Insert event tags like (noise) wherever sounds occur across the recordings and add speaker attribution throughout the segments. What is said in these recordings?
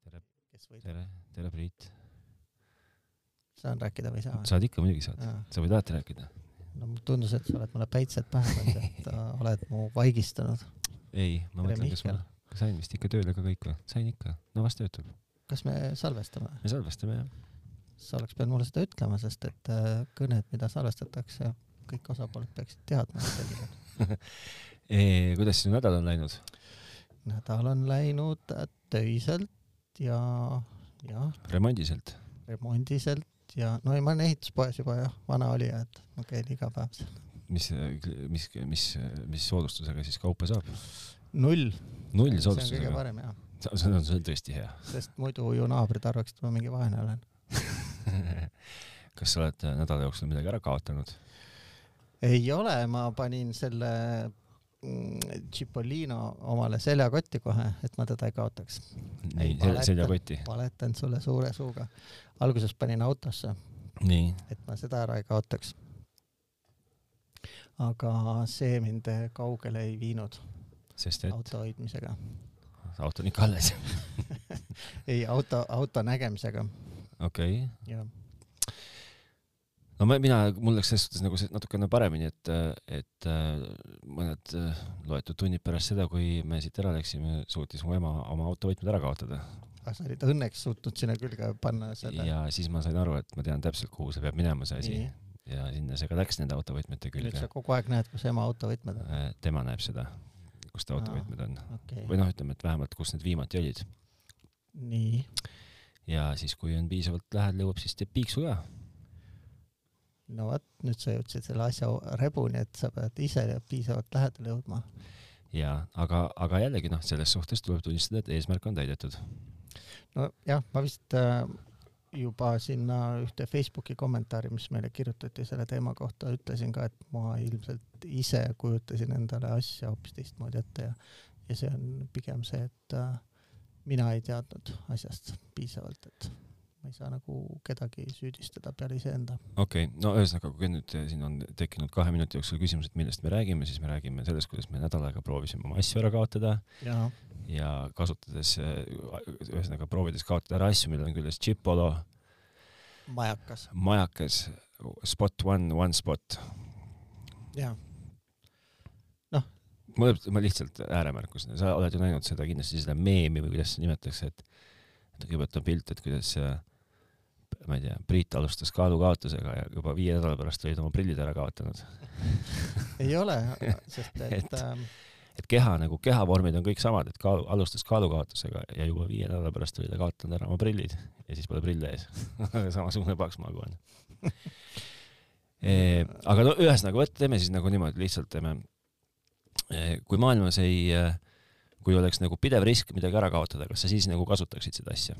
Speaker 1: kes võidab .
Speaker 2: tere , tere , Priit .
Speaker 1: saan rääkida või ei saa ?
Speaker 2: saad ikka , muidugi saad . sa võid alati rääkida .
Speaker 1: no mulle tundus , et sa oled mulle päitsed pähe pannud , et äh, oled mu vaigistanud .
Speaker 2: ei , ma
Speaker 1: Tere,
Speaker 2: mõtlen , kas ma
Speaker 1: Mihkel. ,
Speaker 2: sain vist ikka tööle ka kõik või ? sain ikka . no vast töötab .
Speaker 1: kas me salvestame ?
Speaker 2: me salvestame jah .
Speaker 1: sa oleks pidanud mulle seda ütlema , sest et äh, kõned , mida salvestatakse , kõik osapooled peaksid teadma .
Speaker 2: E, kuidas sinu nädal on läinud ?
Speaker 1: nädal on läinud äh, töiselt ja , ja
Speaker 2: remondiselt ?
Speaker 1: remondiselt ja no ei , ma olen ehituspoes juba jah , vana olija , et ma käin iga päev seal .
Speaker 2: mis , mis , mis , mis soodustusega siis kaupa saab ?
Speaker 1: null .
Speaker 2: null
Speaker 1: see on kõige
Speaker 2: soodustusega .
Speaker 1: parem jah ,
Speaker 2: see on , see on tõesti hea . (laughs)
Speaker 1: sest muidu ju naabrid arvaksid , et ma mingi vaene olen .
Speaker 2: kas sa oled nädala jooksul midagi ära kaotanud ?
Speaker 1: ei ole , ma panin selle mm, Cipollino omale seljakotti kohe , et ma teda ei kaotaks .
Speaker 2: nii ,
Speaker 1: paleta.
Speaker 2: seljakotti .
Speaker 1: paletan sulle suure suuga . alguses panin autosse ,
Speaker 2: nii ,
Speaker 1: et ma seda ära ei kaotaks . aga see mind kaugele ei viinud
Speaker 2: sest et
Speaker 1: auto hoidmisega .
Speaker 2: auto on ikka alles . (laughs)
Speaker 1: ei , auto , auto nägemisega .
Speaker 2: okei okay. .
Speaker 1: jah ,
Speaker 2: no ma, mina , mul läks selles suhtes nagu see natukene paremini , et , et äh, mõned äh, loetud tunnid pärast seda , kui me siit ära läksime , suutis mu ema oma autovõtmed ära kaotada
Speaker 1: aga sa olid õnneks suutnud sinna külge panna
Speaker 2: Selle.
Speaker 1: selle .
Speaker 2: ja siis ma sain aru , et ma tean täpselt , kuhu see peab minema , see asi
Speaker 1: Nii. .
Speaker 2: ja sinna see ka läks nende autovõtmete
Speaker 1: nüüd
Speaker 2: külge Äh,
Speaker 1: sa . kogu aeg näed , kus ema autovõtmed on .
Speaker 2: tema näeb seda , kus ta
Speaker 1: Aa.
Speaker 2: autovõtmed on
Speaker 1: okei
Speaker 2: või , noh , ütleme , et vähemalt , kus need viimati olid .
Speaker 1: nii ,
Speaker 2: ja siis , kui on piisavalt lähedal , jõuab siis teeb piiksu ka .
Speaker 1: no vot , nüüd sa jõudsid selle asja rebuni , et sa pead ise piisavalt lähedale jõudma .
Speaker 2: ja , aga , aga jällegi noh , selles suhtes tuleb tunnistada , et eesmärk on täidetud .
Speaker 1: nojah , ma vist äh, juba sinna ühte Facebooki kommentaari , mis meile kirjutati selle teema kohta , ütlesin ka , et ma ilmselt ise kujutasin endale asja hoopis teistmoodi ette ja , ja see on pigem see , et äh, mina ei teadnud asjast piisavalt , et ma ei saa nagu kedagi süüdistada peale iseenda .
Speaker 2: okei okay, , no ühesõnaga , kui nüüd eh, siin on tekkinud kahe minuti jooksul küsimus , et millest me räägime , siis me räägime sellest , kuidas me nädal aega proovisime oma asju ära kaotada
Speaker 1: jaa ,
Speaker 2: ja kasutades , ühesõnaga proovides kaotada ära asju , millel on küljes Chipolo ,
Speaker 1: majakas .
Speaker 2: majakas , spot one , one spot .
Speaker 1: jaa ,
Speaker 2: mul tuleb , ma lihtsalt ääremärkusena , sa oled ju näinud seda kindlasti , seda meemi või kuidas seda nimetatakse , et et kõigepealt on pilt , et kuidas äh, ma ei tea , Priit alustas kaalukaotusega ja juba viie nädala pärast olid oma prillid ära kaotanud .
Speaker 1: ei ole , sest
Speaker 2: Et-
Speaker 1: (laughs) et ähm,
Speaker 2: et keha nagu kehavormid on kõik samad , et kaalu , alustas kaalukaotusega ja juba viie nädala pärast oli ta kaotanud ära oma prillid ja siis pole prille ees . (laughs) samasugune paks magu on e, . aga no ühesõnaga , vot teeme siis nagu niimoodi , lihtsalt teeme e, . kui maailmas ei , kui oleks nagu pidev risk midagi ära kaotada , kas sa siis nagu kasutaksid seda asja ?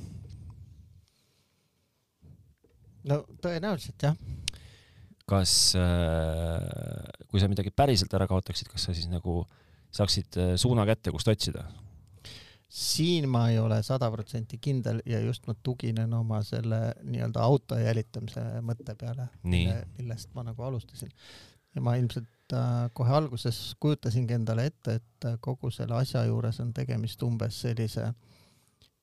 Speaker 1: no tõenäoliselt jah ,
Speaker 2: kas äh, , kui sa midagi päriselt ära kaotaksid , kas sa siis nagu saaksid äh, suuna kätte , kust otsida ?
Speaker 1: siin ma ei ole sada protsenti kindel ja just ma tuginen oma selle nii-öelda auto jälitamise mõtte peale ,
Speaker 2: Nii.
Speaker 1: millest ma nagu alustasin . ja ma ilmselt äh, kohe alguses kujutasingi endale ette , et äh, kogu selle asja juures on tegemist umbes sellise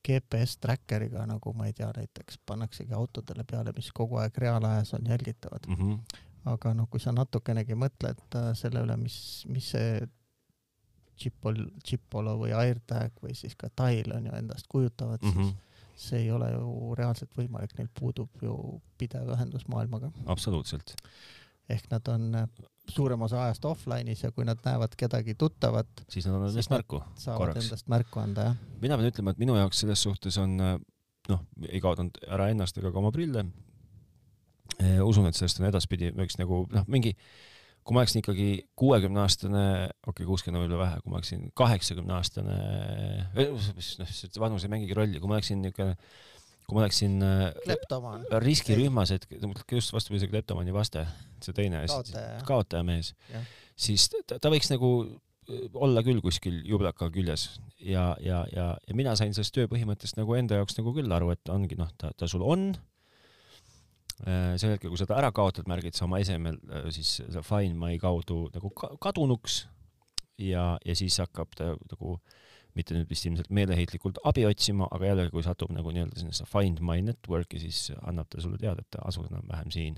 Speaker 1: GPS trackeriga , nagu ma ei tea , näiteks pannaksegi autodele peale , mis kogu aeg reaalajas on jälgitavad .
Speaker 2: Mm -hmm.
Speaker 1: aga noh , kui sa natukenegi mõtled äh, selle üle , mis , mis see Chipol , Chipolo või AirTag või siis ka Tile on ju endast kujutavad
Speaker 2: Mm
Speaker 1: mm ,
Speaker 2: -hmm.
Speaker 1: -hmm. siis see ei ole ju reaalselt võimalik , neil puudub ju pidev ühendus maailmaga .
Speaker 2: absoluutselt .
Speaker 1: ehk nad on äh, suurem osa ajast offline'is ja kui nad näevad kedagi tuttavat ,
Speaker 2: siis nad annavad
Speaker 1: Siis
Speaker 2: endast
Speaker 1: nad-
Speaker 2: märku .
Speaker 1: saavad
Speaker 2: Korraks.
Speaker 1: Korraks. endast märku anda , jah .
Speaker 2: mina pean ütlema , et minu jaoks selles suhtes on äh, noh , ei kaotanud ära ennast ega ka oma prille . usun , et sellest on edaspidi , võiks nagu noh , mingi , kui ma oleksin ikkagi kuuekümne aastane , okei okay, , kuuskümmend on võib-olla vähe , kui ma oleksin kaheksakümne aastane , noh , see vanus ei mängigi rolli , kui ma oleksin niisugune , kui ma oleksin äh,
Speaker 1: kleptomaan ,
Speaker 2: riskirühmas , et just vastupidi , see kleptomani vaste , see teine asi ,
Speaker 1: kaotaja , jah .
Speaker 2: kaotajamees
Speaker 1: Jah. ,
Speaker 2: siis ta, ta võiks nagu äh, olla küll kuskil jublaka küljes ja , ja , ja , ja mina sain sellest tööpõhimõttest nagu enda jaoks nagu küll aru , et ongi noh , ta , ta sul on . sel hetkel , kui sa ta ära kaotad , märgid sa oma esemel äh, siis selle Find My kaudu nagu ka- kadunuks ja , ja siis hakkab ta nagu mitte nüüd vist ilmselt meeleheitlikult abi otsima, aga jällegi, kui satub nagu nii-öelda sinna find my network'i, siis annab ta sulle teada, et ta asub enam-vähem siin.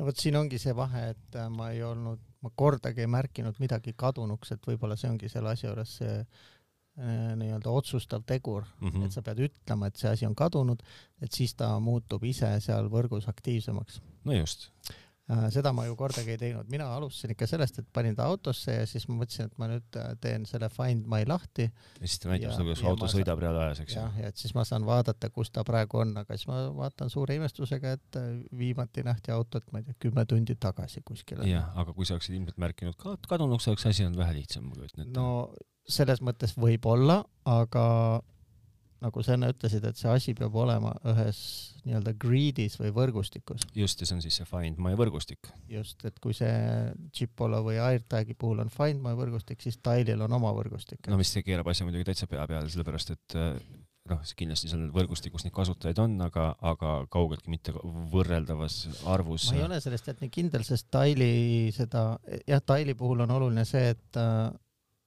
Speaker 1: no vot, siin ongi see vahe, et äh, ma ei olnud, ma kordagi ei märkinud midagi kadunuks, et võib-olla see ongi selle asja juures see äh, nii-öelda otsustav tegur
Speaker 2: Mm
Speaker 1: -hmm. et sa pead ütlema, et see asi on kadunud, et siis ta muutub ise seal võrgus aktiivsemaks. Äh,
Speaker 2: no just,
Speaker 1: seda ma ju kordagi ei teinud, mina alustasin ikka sellest, et panin ta autosse ja siis ma mõtlesin, et ma nüüd äh, teen selle Find My lahti
Speaker 2: ja siis ta näitab
Speaker 1: Ja-
Speaker 2: seda, kuidas
Speaker 1: ja
Speaker 2: su auto
Speaker 1: ma sa-
Speaker 2: sõidab reaalajas , eks ju
Speaker 1: ja , ja et siis ma saan vaadata, kus ta praegu on, aga siis ma vaatan suure imestusega, et äh, viimati nähti autot , ma ei tea , kümme tundi tagasi kuskil .
Speaker 2: jah , aga kui sa oleksid ilmselt märkinud ka , et kadunuks oleks asi olnud vähe lihtsam , ma kujutan ette .
Speaker 1: no selles mõttes võib-olla , aga nagu sa enne ütlesid , et see asi peab olema ühes nii-öelda grid'is või võrgustikus .
Speaker 2: just , ja see on siis see Find My võrgustik .
Speaker 1: just , et kui see Chipolo või AirTagi puhul on Find My võrgustik , siis Tile'il on oma võrgustik
Speaker 2: no mis see keerab asja muidugi täitsa pea peale , sellepärast et äh, noh , kindlasti seal võrgustikus neid kasutajaid on , aga , aga kaugeltki mitte võrreldavas arvus .
Speaker 1: ma ei ole sellest jah nii kindel , sest Tile'i seda , jah , Tile'i puhul on oluline see , et äh,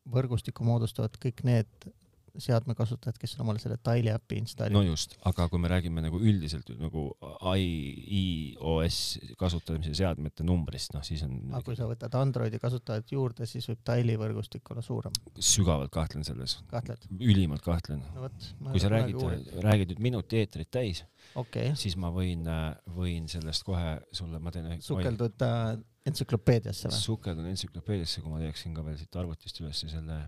Speaker 1: võrgustiku moodustavad kõik need seadmekasutajad , kes on omale selle Tile'i äpi
Speaker 2: no
Speaker 1: installinud .
Speaker 2: just , aga kui me räägime nagu üldiselt nagu iOS kasutamise seadmete numbrist , noh siis on
Speaker 1: aga kui sa võtad Androidi kasutajad juurde , siis võib Tile'i võrgustik olla suurem ,
Speaker 2: sügavalt kahtlen selles ,
Speaker 1: kahtled ?
Speaker 2: ülimalt kahtlen .
Speaker 1: no vot .
Speaker 2: kui sa räägid , äh, räägid nüüd minuti eetrit täis ,
Speaker 1: okei ,
Speaker 2: siis ma võin , võin sellest kohe sulle , ma teen .
Speaker 1: sukeldud äh, entsüklopeediasse või ?
Speaker 2: sukeldun entsüklopeediasse , kui ma leiaksin ka veel siit arvutist üles selle .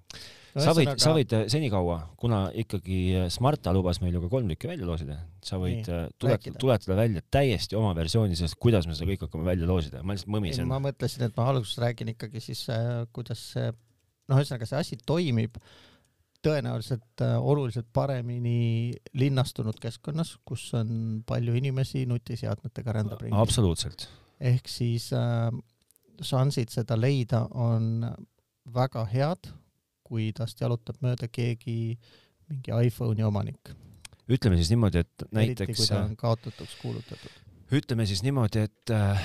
Speaker 2: sa võid , sa . võid äh, senikaua , kuna ikkagi äh, Smarta lubas meil ju ka kolm tükki välja loosida , sa võid
Speaker 1: Nii,
Speaker 2: äh, tuletada ,
Speaker 1: rääkida.
Speaker 2: tuletada välja täiesti oma versiooni sellest , kuidas me seda kõik hakkame välja loosida , ma lihtsalt
Speaker 1: ei ,
Speaker 2: mõmisen
Speaker 1: ma . mõtlesin , et ma alguses räägin ikkagi siis , kuidas see , noh , ühesõnaga see asi toimib tõenäoliselt äh, oluliselt paremini linnastunud keskkonnas , kus on palju inimesi nutiseadmetega rändab ringi .
Speaker 2: absoluutselt .
Speaker 1: ehk siis äh, šansid seda leida on väga head , kui tast jalutab mööda keegi mingi iPhone'i omanik ,
Speaker 2: ütleme siis niimoodi , et
Speaker 1: eriti kui
Speaker 2: näiteks ,
Speaker 1: ta on kaotutuks kuulutatud .
Speaker 2: ütleme siis niimoodi , et äh,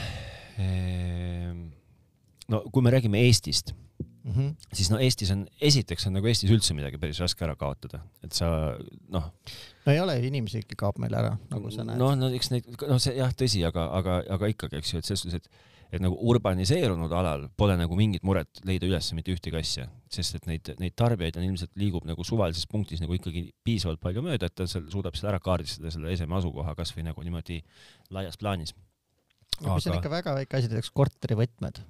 Speaker 2: ehm, no kui me räägime Eestist ,
Speaker 1: Mm -hmm.
Speaker 2: siis no Eestis on , esiteks on nagu Eestis üldse midagi päris raske ära kaotada , et sa noh ,
Speaker 1: no ei ole , inimesi ikka kaob meil ära , nagu sa näed .
Speaker 2: noh , no eks neid , noh , see jah , tõsi , aga , aga , aga ikkagi , eks ju , et selles suhtes , et et nagu urbaniseerunud alal pole nagu mingit muret leida üles mitte ühtegi asja , sest et neid , neid tarbijaid on ilmselt liigub nagu suvalises punktis nagu ikkagi piisavalt palju mööda , et ta seal suudab selle ära kaardistada , selle eseme asukoha kasvõi nagu niimoodi laias plaanis .
Speaker 1: aga... . mis on
Speaker 2: Aga-
Speaker 1: ikka väga väike asi , näiteks korterivõtmed .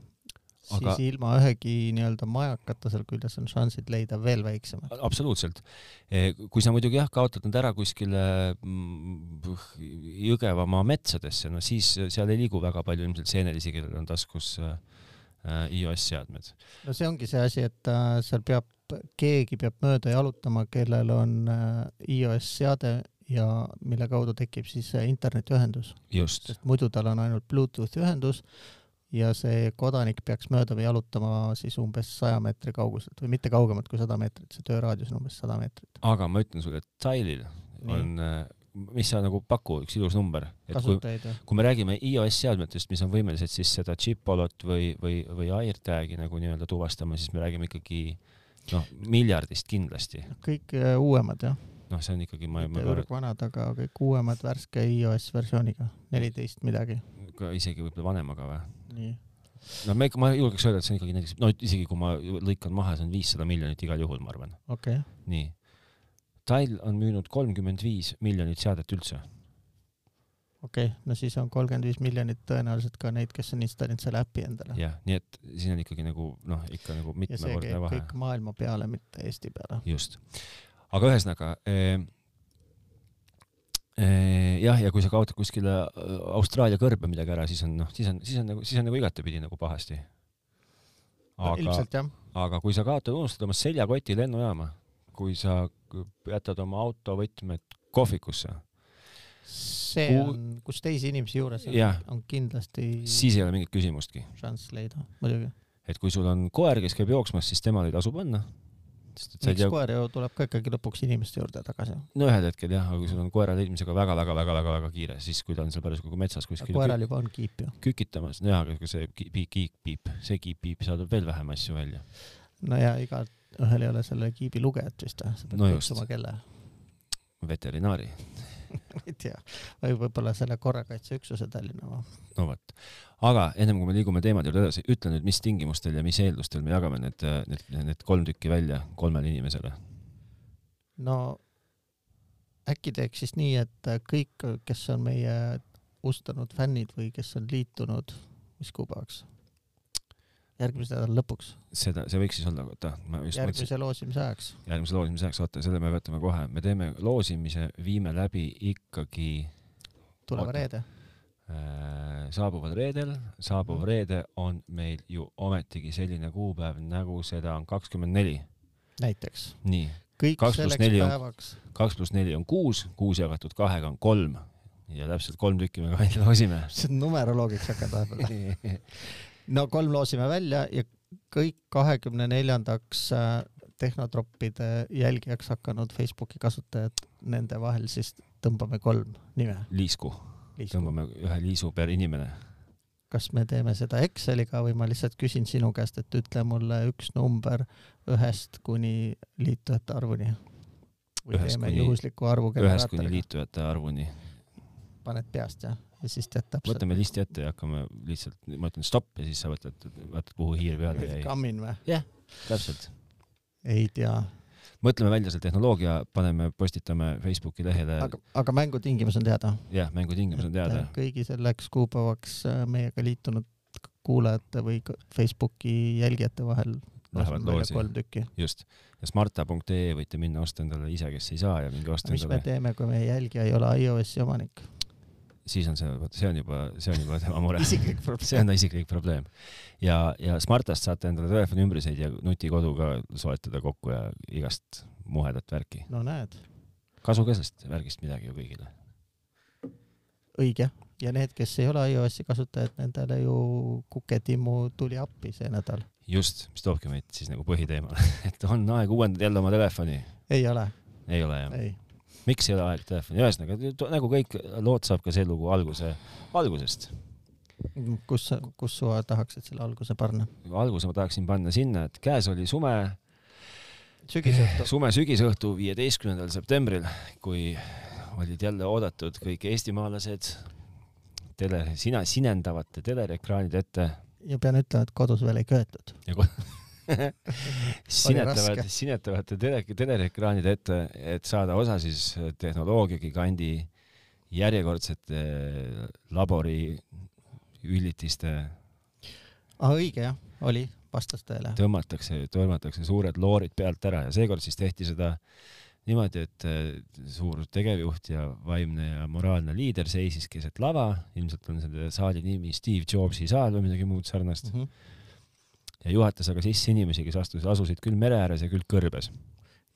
Speaker 1: siis
Speaker 2: Aga-
Speaker 1: aga... ilma ühegi nii-öelda majakata seal küljes on šansid leida veel väiksemad .
Speaker 2: absoluutselt . kui sa muidugi jah , kaotad nad ära kuskile mm, puh, Jõgevamaa metsadesse , no siis seal ei liigu väga palju ilmselt seenelisi , kellel on taskus äh, äh, iOS seadmed .
Speaker 1: no see ongi see asi , et äh, seal peab , keegi peab mööda jalutama , kellel on äh, iOS seade ja mille kaudu tekib siis see internetiühendus ,
Speaker 2: just ,
Speaker 1: sest muidu tal on ainult Bluetoothi ühendus ja see kodanik peaks mööda jalutama siis umbes saja meetri kauguselt või mitte kaugemalt kui sada meetrit , see tööraadius on umbes sada meetrit .
Speaker 2: aga ma ütlen sulle , et Tile'il
Speaker 1: Nii.
Speaker 2: on , mis sa nagu paku , üks ilus number , et kui ,
Speaker 1: kasutajaid või ?
Speaker 2: kui me räägime iOS seadmetest , mis on võimelised siis seda chipolot või , või , või AirTagi nagu nii-öelda tuvastama , siis me räägime ikkagi noh , miljardist kindlasti ,
Speaker 1: kõik äh, uuemad jah ?
Speaker 2: noh , see on ikkagi , ma , ma
Speaker 1: mitte
Speaker 2: ei
Speaker 1: ürgvanad , aga kõik uuemad värske iOS versiooniga , neliteist midagi .
Speaker 2: arva , isegi võib-olla vanemaga või ?
Speaker 1: nii .
Speaker 2: no me , ma julgeks öelda , et see on ikkagi näiteks , no isegi kui ma lõikan maha , see on viissada miljonit igal juhul , ma arvan ,
Speaker 1: okei okay. ,
Speaker 2: nii . Tile on müünud kolmkümmend viis miljonit seadet üldse ,
Speaker 1: okei okay. , no siis on kolmkümmend viis miljonit tõenäoliselt ka neid , kes on installinud selle äpi endale .
Speaker 2: jah , nii et siin on ikkagi nagu noh , ikka nagu
Speaker 1: ja see
Speaker 2: mitmekordne
Speaker 1: käib
Speaker 2: vahe .
Speaker 1: kõik maailma peale , mitte Eesti peale .
Speaker 2: just , aga ühesõnaga eh, . Eh, jah , ja kui sa kaotad kuskile eh, Austraalia kõrbe midagi ära , siis on noh , siis on , siis on nagu , siis on nagu igatepidi nagu pahasti .
Speaker 1: No,
Speaker 2: aga ,
Speaker 1: ilmselt jah ,
Speaker 2: aga kui sa kaotad , unustad oma seljakoti lennujaama , kui sa jätad oma autovõtmed kohvikusse ,
Speaker 1: see
Speaker 2: Ku-
Speaker 1: on , kus teisi inimesi juures on,
Speaker 2: jah ,
Speaker 1: on kindlasti
Speaker 2: siis ei ole mingit küsimustki .
Speaker 1: šanss leida , muidugi .
Speaker 2: et kui sul on koer , kes käib jooksmas , siis temal ei tasu panna . sest et sa ei
Speaker 1: miks
Speaker 2: tea ,
Speaker 1: koer ju tuleb ka ikkagi lõpuks inimeste juurde tagasi .
Speaker 2: no ühel hetkel jah , aga kui sul on koera leidmisega väga-väga-väga-väga-väga kiire , siis kui ta on seal parasjagu metsa metsa kuskil
Speaker 1: koeral juba on kiip ju .
Speaker 2: kü- kükitamas , nojah , aga kui see ki- pi- kiik piip , see kiip piip saadab veel vähem asju välja .
Speaker 1: no ja igalt ühel ei ole selle kiibi lugejat vist või, sa pead
Speaker 2: No just.
Speaker 1: kutsuma kelle
Speaker 2: veterinaari
Speaker 1: ma (laughs) ei tea , või võib-olla selle korrakaitseüksuse Tallinna oma .
Speaker 2: no vot , aga ennem kui me liigume teemade juurde edasi , ütle nüüd , mis tingimustel ja mis eeldustel me jagame need , need , need kolm tükki välja kolmele inimesele .
Speaker 1: no äkki teeks siis nii , et kõik , kes on meie ustanud fännid või kes on liitunud , mis kuupäevaks ? järgmise nädala lõpuks ,
Speaker 2: seda , see võiks siis olla , oota , ma just mõtlesin ,
Speaker 1: järgmise loosimise ajaks .
Speaker 2: järgmise loosimise ajaks , oota , selle me võtame kohe , me teeme loosimise , viime läbi ikkagi
Speaker 1: tuleva
Speaker 2: Oota.
Speaker 1: reede .
Speaker 2: äh, saabuval reedel , saabuv reede on meil ju ometigi selline kuupäev , nagu seda on kakskümmend neli .
Speaker 1: näiteks .
Speaker 2: nii ,
Speaker 1: kõik
Speaker 2: Kaks pluss
Speaker 1: selleks
Speaker 2: neli on-
Speaker 1: päevaks ,
Speaker 2: kaks pluss neli on kuus , kuus jagatud kahega on kolm ja täpselt kolm tükki me välja loosime . (laughs)
Speaker 1: sa numeroloogiks hakkad vahepeal . no kolm loosime välja ja kõik kahekümne neljandaks tehnotroppide jälgijaks hakanud Facebooki kasutajad , nende vahel siis tõmbame kolm nime .
Speaker 2: liisku , tõmbame ühe liisu per inimene .
Speaker 1: kas me teeme seda Exceliga või ma lihtsalt küsin sinu käest , et ütle mulle üks number ühest kuni liitujate arvuni ? või
Speaker 2: Ühest
Speaker 1: teeme
Speaker 2: kuni-
Speaker 1: juhusliku arvu
Speaker 2: ühest kuni
Speaker 1: generaatoriga ,
Speaker 2: liitujate arvuni .
Speaker 1: paned peast jah , ja siis tead täpselt .
Speaker 2: võtame listi ette ja hakkame lihtsalt , ma ütlen stopp ja siis sa võtad , vaatad , kuhu hiir peale jäi .
Speaker 1: kammin või ?
Speaker 2: täpselt .
Speaker 1: ei tea ,
Speaker 2: mõtleme välja selle tehnoloogia , paneme , postitame Facebooki lehele ,
Speaker 1: aga , aga mängutingimus on teada
Speaker 2: jah , mängutingimus on teada
Speaker 1: et . kõigi selleks kuupäevaks äh, meiega liitunud k- kuulajate või k- Facebooki jälgijate vahel
Speaker 2: Lähevad
Speaker 1: laseme välja
Speaker 2: loosi ,
Speaker 1: kolm tükki .
Speaker 2: just . ja smarta.ee võite minna osta endale ise , kes ei saa ja minge osta
Speaker 1: mis me
Speaker 2: endale ,
Speaker 1: teeme , kui meie jälgija ei ole iOS-i omanik ?
Speaker 2: siis on see , vot see on juba , see on juba tema mure . (laughs)
Speaker 1: isiklik
Speaker 2: see
Speaker 1: probleem .
Speaker 2: on ta isiklik probleem . ja , ja Smartast saate endale telefoniümbriseid ja nutikodu ka soetada kokku ja igast muhedat värki .
Speaker 1: no näed ,
Speaker 2: kasu ka sellest värgist midagi ju kõigile .
Speaker 1: õige . ja need , kes ei ole iOS-i kasutajad , nendele ju Kuke Timmu tuli appi see nädal .
Speaker 2: just , mis toobki meid siis nagu põhiteemale , (laughs) et on aeg uuendada jälle oma telefoni .
Speaker 1: ei ole ,
Speaker 2: ei ole jah ?
Speaker 1: ei .
Speaker 2: miks ei ole aeg telefoni ? ühesõnaga , nagu kõik lood saab ka see lugu alguse , algusest .
Speaker 1: kus , kus sa tahaksid selle alguse panna ?
Speaker 2: alguse ma tahaksin panna sinna , et käes oli sume , (laughs)
Speaker 1: sügisõhtu .
Speaker 2: sume sügisõhtu viieteistkümnendal septembril , kui olid jälle oodatud kõik eestimaalased tele , sina , sinendavate telerekraanide ette
Speaker 1: ja pean ütlema , et kodus veel ei köetud .
Speaker 2: ja ko- sinetavad
Speaker 1: raske. ,
Speaker 2: sinetavate tele , telerekraanide ette , et saada osa siis tehnoloogiagigandi järjekordsete eh, labori üllitiste ,
Speaker 1: aa , Ah, õige jah , oli , vastas tõele .
Speaker 2: tõmmatakse , tõmmatakse suured loorid pealt ära ja seekord siis tehti seda niimoodi , et eh, suur tegevjuht ja vaimne ja moraalne liider seisis keset lava , ilmselt on selle saali nimi Steve Jobsi saal või midagi muud sarnast ,
Speaker 1: Mhm.
Speaker 2: ja juhatas aga sisse inimesi , kes astus , asusid küll mere ääres ja küll kõrbes .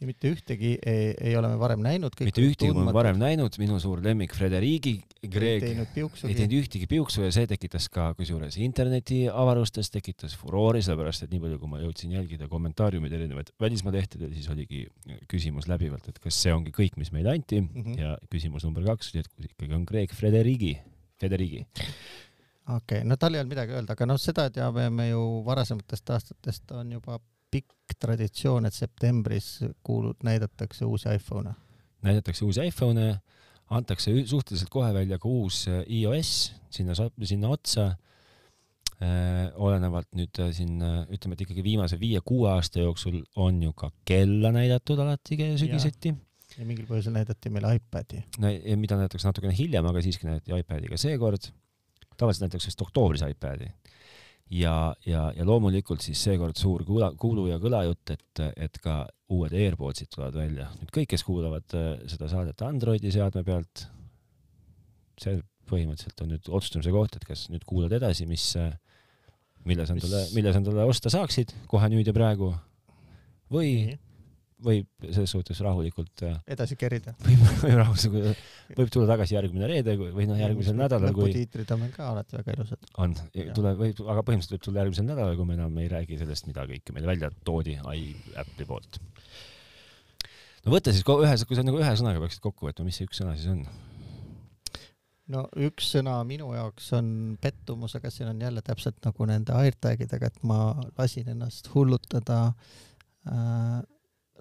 Speaker 1: ja mitte ühtegi ei, ei ole me varem näinud .
Speaker 2: mitte ühtegi ma olen varem näinud , minu suur lemmik Frederigi Greg
Speaker 1: teinud
Speaker 2: ei
Speaker 1: piuksugi .
Speaker 2: teinud ühtegi piuksu ja see tekitas ka kusjuures interneti avarustes tekitas furoori , sellepärast et nii palju , kui ma jõudsin jälgida kommentaariumeid erinevaid välismaa lehtedel , siis oligi küsimus läbivalt , et kas see ongi kõik , mis meile anti mm
Speaker 1: Mhm.
Speaker 2: -hmm. ja küsimus number kaks oli , et kui ikkagi on Greg Frederigi , Frederigi ,
Speaker 1: okei , no tal ei olnud midagi öelda , aga noh , seda teame me ju varasematest aastatest on juba pikk traditsioon , et septembris kuulu- , näidatakse uusi iPhone'e .
Speaker 2: näidatakse uusi iPhone'e , antakse ü- suhteliselt kohe välja ka uus äh, iOS sinna , sinna otsa . olenevalt nüüd äh, siin äh, ütleme , et ikkagi viimase viie-kuue aasta jooksul on ju ka kella näidatud alati ke- sügiseti ,
Speaker 1: ja mingil põhjusel näidati meile iPadi .
Speaker 2: mida näidatakse natukene hiljem , aga siiski näidati iPadi ka seekord . tavaliselt näidatakse vist oktoobris iPadi . ja , ja , ja loomulikult siis seekord suur kuula- , kuulu- ja kõlajutt , et , et ka uued AirPodsid tulevad välja . nüüd kõik , kes kuulavad äh, seda saadet Androidi seadme pealt , see põhimõtteliselt on nüüd otsustamise koht , et kas nüüd kuulad edasi , mis , äh, mille sa endale ,
Speaker 1: Mis-
Speaker 2: mille sa endale osta saaksid kohe nüüd ja praegu või ,
Speaker 1: Mhm.
Speaker 2: või selles suhtes rahulikult äh,
Speaker 1: edasi kerida .
Speaker 2: võib , (laughs) võib rahus , võib tulla tagasi järgmine reede kui- või noh , järgmisel nädalal , kui
Speaker 1: lõputiitrid on meil ka alati väga ilusad .
Speaker 2: on ,
Speaker 1: Jah.
Speaker 2: tuleb , võib , aga põhimõtteliselt võib tulla järgmisel nädalal , kui me enam ei räägi sellest , mida kõike meile välja toodi ai äpi poolt . no võta siis ko- ühe , kui sa nagu ühe sõnaga peaksid kokku võtma , mis see üks sõna siis on ?
Speaker 1: no üks sõna minu jaoks on pettumus , aga siin on jälle täpselt nagu nende AirTag idega , et ma lasin ennast hullutada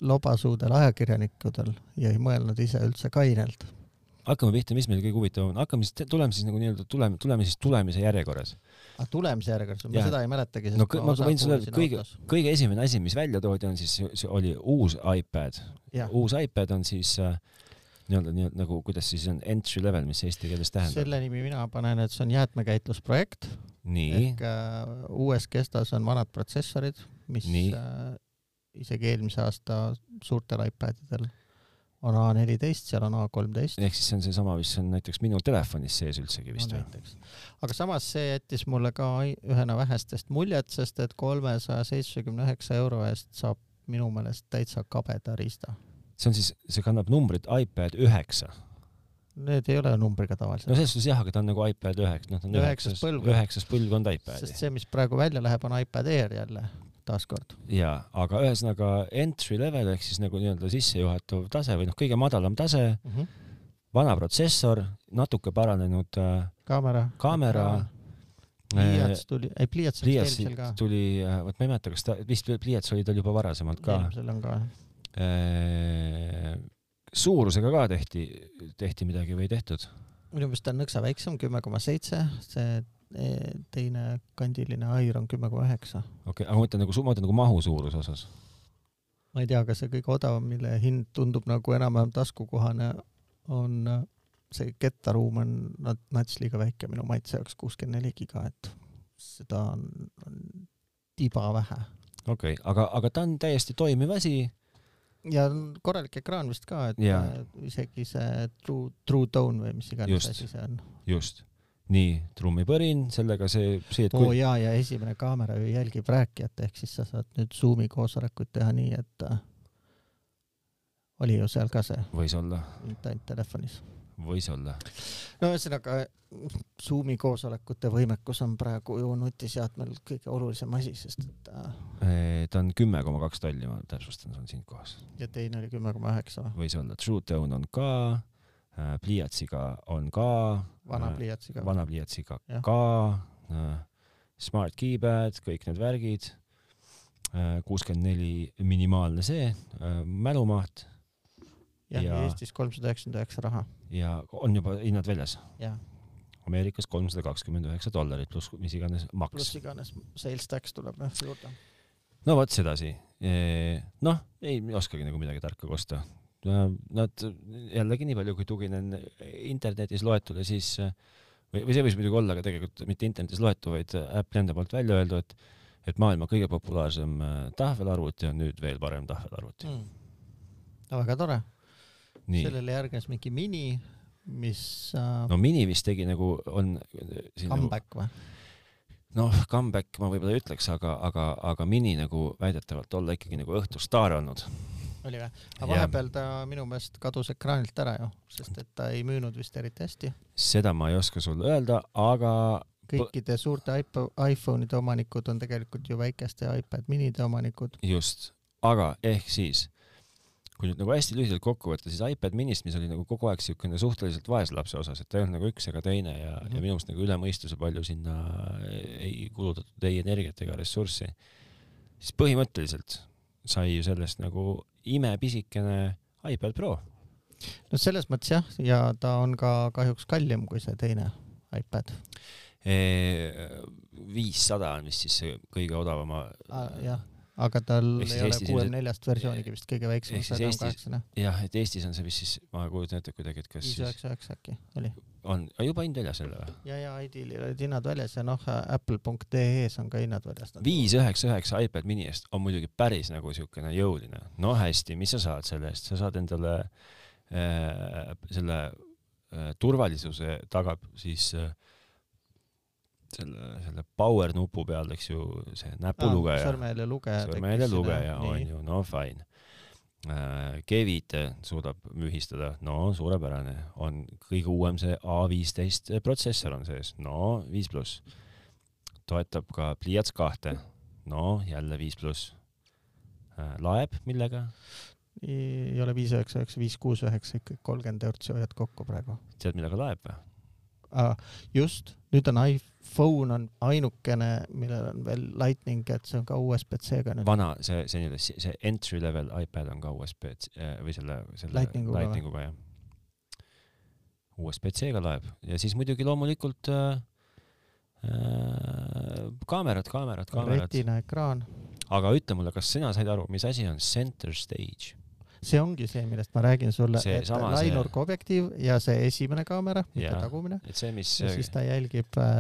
Speaker 1: lobasuudel ajakirjanikudel ja ei mõelnud ise üldse kainelt.
Speaker 2: hakkame pihta , mis meil kõige huvitavam on , hakkame siis , tuleme siis nagu nii-öelda tuleme , tuleme siis tulemise järjekorras .
Speaker 1: aga tulemise järjekorras , ma
Speaker 2: Jaa.
Speaker 1: seda ei mäletagi , sest
Speaker 2: No kõ- ma
Speaker 1: osa
Speaker 2: võin sulle öelda,
Speaker 1: kuulasin
Speaker 2: kõige-
Speaker 1: autos.
Speaker 2: kõige esimene asi , mis välja toodi , on siis , see oli uus iPad .
Speaker 1: Jah.
Speaker 2: uus iPad on siis äh, nii-öelda nii-öelda nagu , kuidas siis on entry level , mis eesti keeles tähendab .
Speaker 1: selle nimi mina panen , et see on jäätmekäitlusprojekt
Speaker 2: nii ,
Speaker 1: ehk äh, uues kestas on vanad protsessorid , mis
Speaker 2: Nii.
Speaker 1: äh, isegi eelmise aasta suurtel iPadidel on A14 , seal on A13
Speaker 2: ehk siis see on seesama , mis on näiteks minu telefonis sees üldsegi vist
Speaker 1: no,
Speaker 2: või ?
Speaker 1: näiteks . aga samas see jättis mulle ka ai- ühena vähestest muljet , sest et kolmesaja seitsmekümne üheksa euro eest saab minu meelest täitsa kabeda riista .
Speaker 2: see on siis , see kannab numbrit iPad üheksa .
Speaker 1: Need ei ole numbriga
Speaker 2: no
Speaker 1: tavaliselt no, ,
Speaker 2: selles suhtes jah , aga ta on nagu iPad üheksa , noh ta on
Speaker 1: Üheksas
Speaker 2: üheksas ,
Speaker 1: põlvkond.
Speaker 2: üheksas põlvkond
Speaker 1: sest
Speaker 2: iPadi .
Speaker 1: see , mis praegu välja läheb , on iPad Air jälle taaskord .
Speaker 2: jaa , aga ühesõnaga entry level ehk siis nagu nii-öelda sissejuhatav tase või noh , kõige madalam tase ,
Speaker 1: Mm -hmm.
Speaker 2: vana protsessor , natuke paranenud äh,
Speaker 1: kaamera .
Speaker 2: kaamera .
Speaker 1: pliiats tuli , ei pliiats oli eelmisel
Speaker 2: pliiatsid
Speaker 1: ka .
Speaker 2: tuli , vot ma ei mäleta , kas ta vist pliiats oli tal juba varasemalt ka .
Speaker 1: eelmisel on ka .
Speaker 2: suurusega ka tehti , tehti midagi või ei tehtud ?
Speaker 1: minu meelest on nõksa väiksem , kümme koma seitse , see eh, teine kandiline air on kümme koma üheksa .
Speaker 2: okei okay, , aga ma mõtlen nagu , ma mõtlen nagu mahu suuruse osas .
Speaker 1: ma ei tea , kas see kõige odavam , mille hind tundub nagu enam-vähem taskukohane , on äh, see kettaruum on nat- nats liiga väike minu maitse jaoks , kuuskümmend neli giga , et seda on, on tiba vähe .
Speaker 2: okei okay, , aga , aga ta on täiesti toimiv asi .
Speaker 1: ja on korralik ekraan vist ka , et
Speaker 2: Jaa.
Speaker 1: äh, isegi see True , True Tone või mis iganes
Speaker 2: Just.
Speaker 1: asi see on .
Speaker 2: just . nii , trummipõrin , sellega see , see , et
Speaker 1: oo
Speaker 2: kui ,
Speaker 1: jaa , ja esimene kaamera ju jälgib rääkijat , ehk siis sa saad nüüd Zoomi koosolekuid teha nii , et äh, oli ju seal ka see ,
Speaker 2: võis olla ,
Speaker 1: mitte ainult telefonis .
Speaker 2: võis olla .
Speaker 1: no ühesõnaga Zoomi koosolekute võimekus on praegu ju nutiseadmel kõige olulisem asi , sest et äh,
Speaker 2: ta on kümme koma kaks tolli , ma täpsustan , see on siin kohas .
Speaker 1: ja teine oli kümme koma üheksa ,
Speaker 2: võis olla , True Tone on ka , pliiatsiga on ka
Speaker 1: vana
Speaker 2: Äh,
Speaker 1: pliiatsiga .
Speaker 2: vana pliiatsiga
Speaker 1: Jah.
Speaker 2: ka , Smart Keypad , kõik need värgid , kuuskümmend neli minimaalne see , mälumaht
Speaker 1: jah , ja
Speaker 2: ja-
Speaker 1: Eestis kolmsada üheksakümmend üheksa raha .
Speaker 2: ja on juba hinnad väljas .
Speaker 1: jah ,
Speaker 2: Ameerikas kolmsada kakskümmend üheksa dollarit pluss mis iganes maks
Speaker 1: pluss . iganes sales tax tuleb noh juurde .
Speaker 2: no vot sedasi . noh , ei oskagi nagu midagi tarka kosta . Nad jällegi nii palju , kui tuginen internetis loetule , siis eh, või , või see võis muidugi olla ka tegelikult mitte internetis loetu , vaid Apple'i enda poolt välja öeldu , et et maailma kõige populaarsem eh, tahvelarvuti on nüüd veel parem tahvelarvuti .
Speaker 1: Mm. no väga tore ,
Speaker 2: nii ,
Speaker 1: sellele järgnes mingi mini , mis äh,
Speaker 2: no
Speaker 1: no,
Speaker 2: Mini vist tegi nagu on siin nagu
Speaker 1: comeback või ?
Speaker 2: noh , comeback ma võib-olla ei ütleks , aga , aga , aga Mini nagu väidetavalt olla ikkagi nagu õhtustaar olnud .
Speaker 1: oli või ? aga
Speaker 2: Jah.
Speaker 1: vahepeal ta minu meelest kadus ekraanilt ära ju , sest et ta ei müünud vist eriti hästi .
Speaker 2: seda ma ei oska sulle öelda , aga
Speaker 1: kõikide suurte iPo- iPhone'ide omanikud on tegelikult ju väikeste iPad minide omanikud .
Speaker 2: just , aga ehk siis , kui nüüd nagu hästi lühidalt kokku võtta , siis iPad minist , mis oli nagu kogu aeg siukene suhteliselt vaeslapse osas , et ta ei olnud nagu üks ega teine ja mm , -hmm.
Speaker 1: Mhm.
Speaker 2: ja minu meelest nagu üle mõistuse palju sinna ei kulutatud ei energiat ega ressurssi , siis põhimõtteliselt sai ju sellest nagu imepisikene iPad Pro .
Speaker 1: no selles mõttes jah , ja ta on ka kahjuks kallim kui see teine iPad .
Speaker 2: E, viissada on vist siis see kõige odavama
Speaker 1: Ah, jah , aga tal
Speaker 2: Ehk siis
Speaker 1: ei ole
Speaker 2: Eestis
Speaker 1: kuuekümne neljast versioonigi vist kõige väiksem
Speaker 2: ehk , siis
Speaker 1: sada on
Speaker 2: Eestis-
Speaker 1: kaheksane ,
Speaker 2: jah , et Eestis on see vist siis , ma kujutan ette kuidagi , et kas
Speaker 1: viis
Speaker 2: siis
Speaker 1: üheksa üheksa äkki oli .
Speaker 2: on , juba hind väljas jälle või ?
Speaker 1: ja , ja iDealil olid hinnad väljas ja noh , Apple.ee-s E on ka hinnad väljas .
Speaker 2: viis üheksa üheksa iPad mini eest on muidugi päris nagu siukene jõuline . no hästi , mis sa saad selle eest , sa saad endale äh, selle äh, turvalisuse tagab siis äh, selle , selle power nupu peal , eks ju , see näpulugeja ,
Speaker 1: sõrmehääle Ah, lugeja .
Speaker 2: sõrmehääle lugeja on . ju , no fine äh, . G5 suudab mühistada , no suurepärane , on kõige uuem see A15 protsessor on sees , no viis pluss . toetab ka pliiats kahte , no jälle viis pluss äh, . laeb millega ?
Speaker 1: ei ole viis üheksa üheksa , viis kuus üheksa ikkagi kolmkümmend eurtsi hoiad kokku praegu .
Speaker 2: tead , millega laeb või ?
Speaker 1: just nüüd on iPhone on ainukene, millel on veel lightning, et see on ka USB-C-ga nüüd .
Speaker 2: vana see, see nii-öelda si- see entry level iPad on ka USB eh, või selle , selle
Speaker 1: Lightninguga või?
Speaker 2: Lightninguga jah . USB-C-ga laeb ja siis muidugi loomulikult äh, äh, kaamerad , kaamerad , kaamerad .
Speaker 1: retina ekraan ,
Speaker 2: aga ütle mulle , kas sina said aru , mis asi on center stage ?
Speaker 1: see ongi see , millest ma räägin sulle ,
Speaker 2: See
Speaker 1: et
Speaker 2: sama, see-
Speaker 1: lainurg objektiiv ja see esimene kaamera , mitte
Speaker 2: Jaa.
Speaker 1: tagumine ,
Speaker 2: et see , mis
Speaker 1: ja siis ta jälgib äh,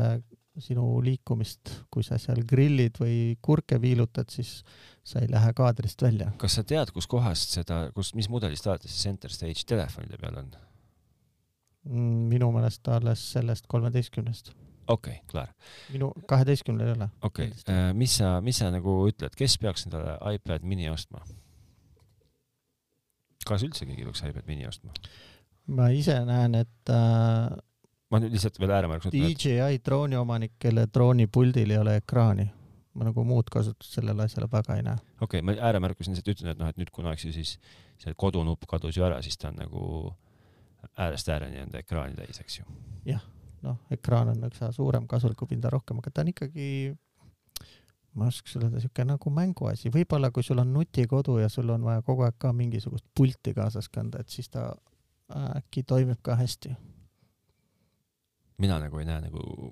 Speaker 1: sinu liikumist , kui sa seal grillid või kurke viilutad , siis sa ei lähe kaadrist välja .
Speaker 2: kas sa tead , kuskohast seda , kus , mis mudelist alates see center stage telefonide peal on ?
Speaker 1: Mm, minu meelest alles sellest kolmeteistkümnest ,
Speaker 2: okei okay, , klaar .
Speaker 1: minu kaheteistkümnel ei ole .
Speaker 2: okei okay. , mis sa , mis sa nagu ütled , kes peaks endale iPad mini ostma ? kas üldse keegi peaks iPad mini ostma ?
Speaker 1: ma ise näen , et äh,
Speaker 2: ma nüüd lihtsalt veel ääremärkus ütlen ,
Speaker 1: DJI E drooni omanik , kelle droonipuldil ei ole ekraani , ma nagu muud kasutust sellele asjale väga ei näe .
Speaker 2: et okei okay, , ma ääremärkus lihtsalt ütlen , et noh , et nüüd kunagi siis see kodunupp kadus ju ära , siis ta on nagu äärest ääreni on ta ekraani täis , eks ju .
Speaker 1: noh , ekraan on üks suurem kasulikupinda rohkem , aga ta on ikkagi , ma ei oska sulle öelda , siuke nagu mänguasi , võib-olla kui sul on nutikodu ja sul on vaja kogu aeg ka mingisugust pulti kaasas kanda , et siis ta äh, äkki toimib ka hästi .
Speaker 2: mina nagu ei näe nagu ,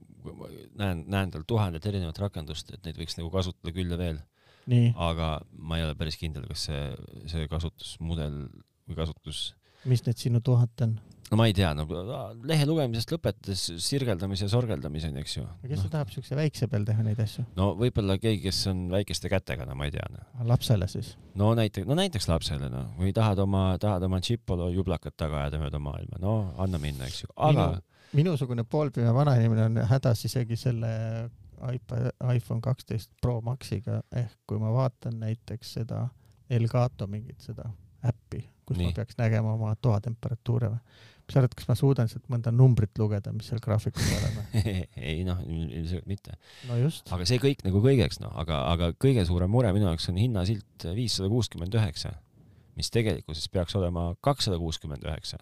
Speaker 2: näen , näen tal tuhandet erinevat rakendust , et neid võiks nagu kasutada küll ja veel ,
Speaker 1: nii ,
Speaker 2: aga ma ei ole päris kindel , kas see , see kasutusmudel või kasutus ,
Speaker 1: mis need sinu tuhat on ?
Speaker 2: no ma ei tea , no lehe lugemisest lõpetades sirgeldamise ja sorgeldamiseni , eks ju .
Speaker 1: kes
Speaker 2: No,
Speaker 1: see tahab siukse väikse peal teha neid asju ?
Speaker 2: no võib-olla keegi , kes on väikeste kätega , no ma ei tea , noh .
Speaker 1: lapsele siis ?
Speaker 2: no näiteks , no näiteks lapsele , noh , või tahad oma , tahad oma Tšipolo jublakat taga ajada mööda maailma , no anna minna , eks ju , aga
Speaker 1: Minu- minusugune poolpime vanainimene on hädas isegi selle iPad , iPhone kaksteist Pro Maxiga , ehk kui ma vaatan näiteks seda Elgato mingit seda äppi , kus Nii.
Speaker 2: Nii.
Speaker 1: ma peaks nägema oma toatemperatuure või ? mis sa arvad , kas ma suudan sealt mõnda numbrit lugeda , mis seal graafikul peal
Speaker 2: (laughs)
Speaker 1: on või ?
Speaker 2: (laughs) ei noh , ilmselt mitte .
Speaker 1: no just ,
Speaker 2: aga see kõik nagu kõigeks , noh , aga , aga kõige suurem mure minu jaoks on hinnasilt viissada kuuskümmend üheksa , mis tegelikkuses peaks olema kakssada kuuskümmend üheksa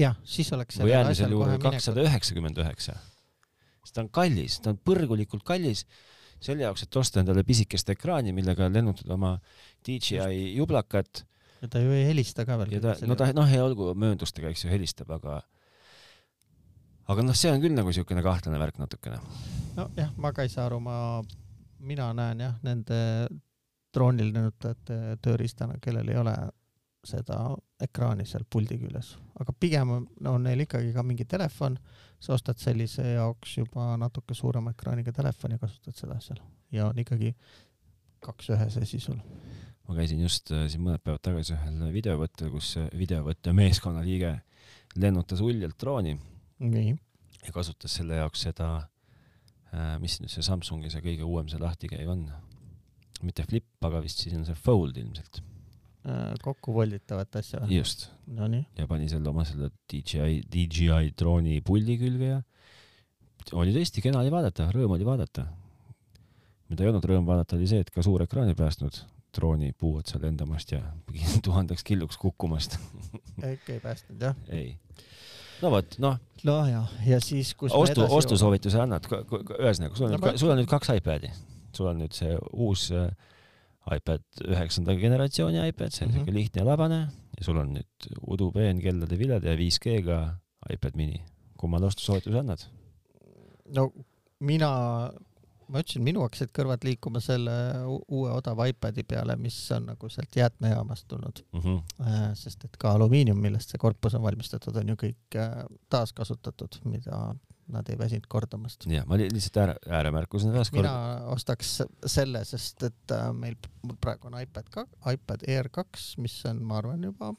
Speaker 1: jah , siis oleks
Speaker 2: või
Speaker 1: sellel asjal
Speaker 2: äärmisel
Speaker 1: kohe
Speaker 2: juhul
Speaker 1: minek .
Speaker 2: kakssada üheksakümmend üheksa . sest ta on kallis , ta on põrgulikult kallis selle jaoks , et osta endale pisikest ekraani , millega lennutada oma DJI jublakat
Speaker 1: ja ta ju ei helista ka veel .
Speaker 2: ja ta , no ta , noh , ei olgu mööndustega , eks ju , helistab , aga aga noh , see on küll nagu niisugune kahtlane värk natukene .
Speaker 1: nojah , ma ka ei saa aru , ma , mina näen jah , nende droonil lennutajate tööriistana , kellel ei ole seda ekraani seal puldi küljes , aga pigem on no, neil ikkagi ka mingi telefon , sa ostad sellise jaoks juba natuke suurema ekraaniga telefoni ja kasutad seda seal ja on ikkagi kaks ühes asi sul .
Speaker 2: ma käisin just äh, siin mõned päevad tagasi ühel videovõttel , kus äh, videovõtte meeskonna liige lennutas uljalt drooni
Speaker 1: nii ,
Speaker 2: ja kasutas selle jaoks seda , mis nüüd see Samsungi see kõige uuem see lahtikäiv on . mitte flip , aga vist siis on see fold ilmselt .
Speaker 1: äh, kokku volditavat asja või ?
Speaker 2: just ,
Speaker 1: Nonii ,
Speaker 2: ja pani selle oma selle DJI , DJI drooni puldi külge ja oli tõesti kena oli vaadata , rõõm oli vaadata . mida ei olnud rõõm vaadata , oli see , et ka suur ekraan ei päästnud drooni puu otsa lendamast ja (laughs) tuhandeks killuks kukkumast .
Speaker 1: äkki ei päästnud jah ?
Speaker 2: ei . no vot , noh ,
Speaker 1: no ja , ja siis , kus me
Speaker 2: ostu ,
Speaker 1: edasi jõuame-
Speaker 2: ostusoovituse annad , ühesõnaga , sul on
Speaker 1: No
Speaker 2: nüüd
Speaker 1: ma-
Speaker 2: ka- , sul on nüüd kaks iPadi , sul on nüüd see uus äh, iPad üheksanda generatsiooni iPad , see on
Speaker 1: Mhm.
Speaker 2: siuke lihtne ja labane ja sul on nüüd udupeen kellade viled ja 5G-ga iPad mini . kummale ostusoovituse annad ?
Speaker 1: no mina , ma ütlesin , minu hakkasid kõrvad liikuma selle u- uue odava iPadi peale , mis on nagu sealt jäätmejaamast tulnud , sest et ka alumiinium , millest see korpus on valmistatud , on ju kõik äh, taaskasutatud , mida nad ei väsinud kordamast .
Speaker 2: jah , ma li- lihtsalt ääre , ääremärkusena taaskord
Speaker 1: mina , ostaks selle , sest et äh, meil p- mul praegu on iPad ka , iPad Air kaks , mis on , ma arvan , juba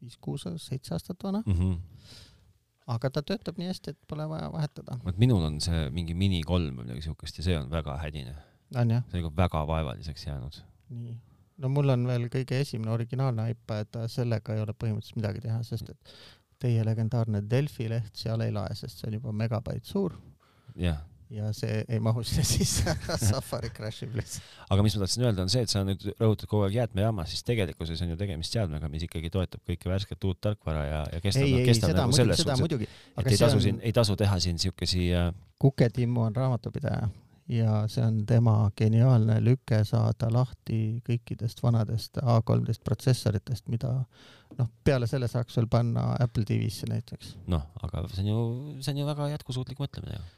Speaker 1: viis-kuus , seitse aastat vana ,
Speaker 2: Mhm.
Speaker 1: aga ta töötab nii hästi , et pole vaja vahetada .
Speaker 2: vot minul on see mingi mini kolm või midagi siukest ja see on väga hädine ,
Speaker 1: on jah ?
Speaker 2: see on ikka väga vaevaliseks jäänud .
Speaker 1: nii , no mul on veel kõige esimene originaalne iPad , sellega ei ole põhimõtteliselt midagi teha , sest et teie legendaarne Delfi leht seal ei lae , sest see on juba megabait suur
Speaker 2: jah ,
Speaker 1: ja see ei mahu (laughs) sinna sisse Safari crash ib lihtsalt .
Speaker 2: aga mis ma tahtsin öelda , on see , et sa nüüd rõhutad kogu aeg jäätmejaama , siis tegelikkuses on ju tegemist seadmega , mis ikkagi toetab kõike värsket uut tarkvara ja , ja kestab ,
Speaker 1: ei , ei
Speaker 2: kestab
Speaker 1: seda
Speaker 2: nagu
Speaker 1: muidugi ,
Speaker 2: selles
Speaker 1: seda
Speaker 2: suhtes ,
Speaker 1: muidugi .
Speaker 2: et ei tasu on... siin , ei tasu teha siin siukesi äh,
Speaker 1: Kuke Timmu on raamatupidaja ja see on tema geniaalne lüke saada lahti kõikidest vanadest A13 protsessoritest , mida noh , peale selle saaks veel panna Apple TV-sse näiteks .
Speaker 2: noh , aga see on ju , see on ju väga jätkusuutlik mõtlemine ju .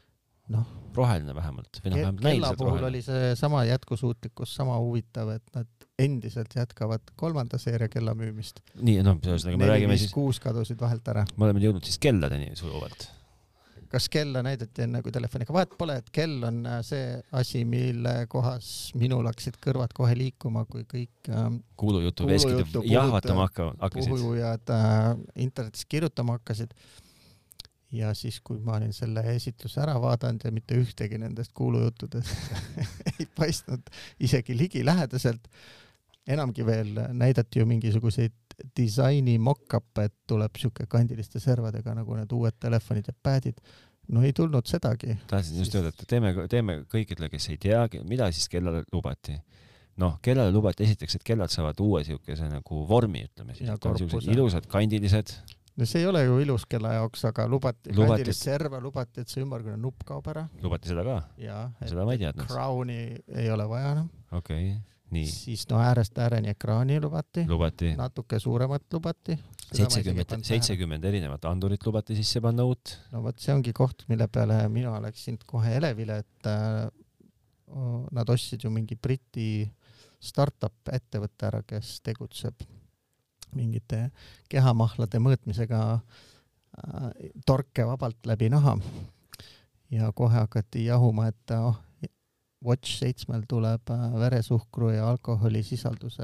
Speaker 1: Noh. ,
Speaker 2: roheline vähemalt või noh , vähemalt
Speaker 1: kella
Speaker 2: näiliselt
Speaker 1: puhul
Speaker 2: roheline .
Speaker 1: oli see sama jätkusuutlikkus , sama huvitav , et nad endiselt jätkavad kolmanda seeria kella müümist .
Speaker 2: nii , no ühesõnaga me
Speaker 1: neli ,
Speaker 2: räägime
Speaker 1: viis ,
Speaker 2: siis ,
Speaker 1: kuus kadusid vahelt ära .
Speaker 2: me oleme jõudnud siis kelladeni sujuvalt .
Speaker 1: kas kella näidati enne kui telefoniga , vahet pole , et kell on äh, see asi , mille kohas minul hakkasid kõrvad kohe liikuma , kui kõik ähm,
Speaker 2: kuulujutu
Speaker 1: Kuulujutu
Speaker 2: veskid
Speaker 1: kuulutajad
Speaker 2: jahvatama hakkavad , hakkasid .
Speaker 1: puhujad äh, internetis kirjutama hakkasid . ja siis , kui ma olin selle esitluse ära vaadanud ja mitte ühtegi nendest kuulujuttudest (laughs) ei paistnud isegi ligilähedaselt , enamgi veel näidati ju mingisuguseid disaini mock-up'e , et tuleb sihuke kandiliste servadega nagu need uued telefonid ja pad'id . no ei tulnud sedagi .
Speaker 2: tahtsin just
Speaker 1: Siis-
Speaker 2: öelda , et teeme , teeme kõikidele , kes ei tea , mida siis kellale lubati . noh , kellele lubati esiteks , et kellad saavad uue siukese nagu vormi , ütleme siis
Speaker 1: Ja . korpuse.
Speaker 2: ilusad kandilised ,
Speaker 1: no see ei ole ju ilus kella jaoks , aga lubati,
Speaker 2: Lubati,
Speaker 1: lubati ,
Speaker 2: et-
Speaker 1: kandilist serva lubati , et see ümmargune nupp kaob ära
Speaker 2: lubati seda ka ,
Speaker 1: ja et
Speaker 2: seda ma ei teadnud .
Speaker 1: crown'i ei ole vaja enam .
Speaker 2: okei okay. , nii ,
Speaker 1: siis no äärest ääreni ekraani lubati ,
Speaker 2: lubati
Speaker 1: natuke suuremat lubati .
Speaker 2: seitsekümmend , seitsekümmend erinevat andurit lubati sisse panna uut .
Speaker 1: no vot , see ongi koht , mille peale mina oleksin kohe elevile , et äh, o- nad ostsid ju mingi Briti startup ettevõte ära , kes tegutseb mingite kehamahlade mõõtmisega äh, torke vabalt läbi naha . ja kohe hakati jahuma , et oh , Watch seitsmel tuleb äh, veresuhkru ja alkoholisisalduse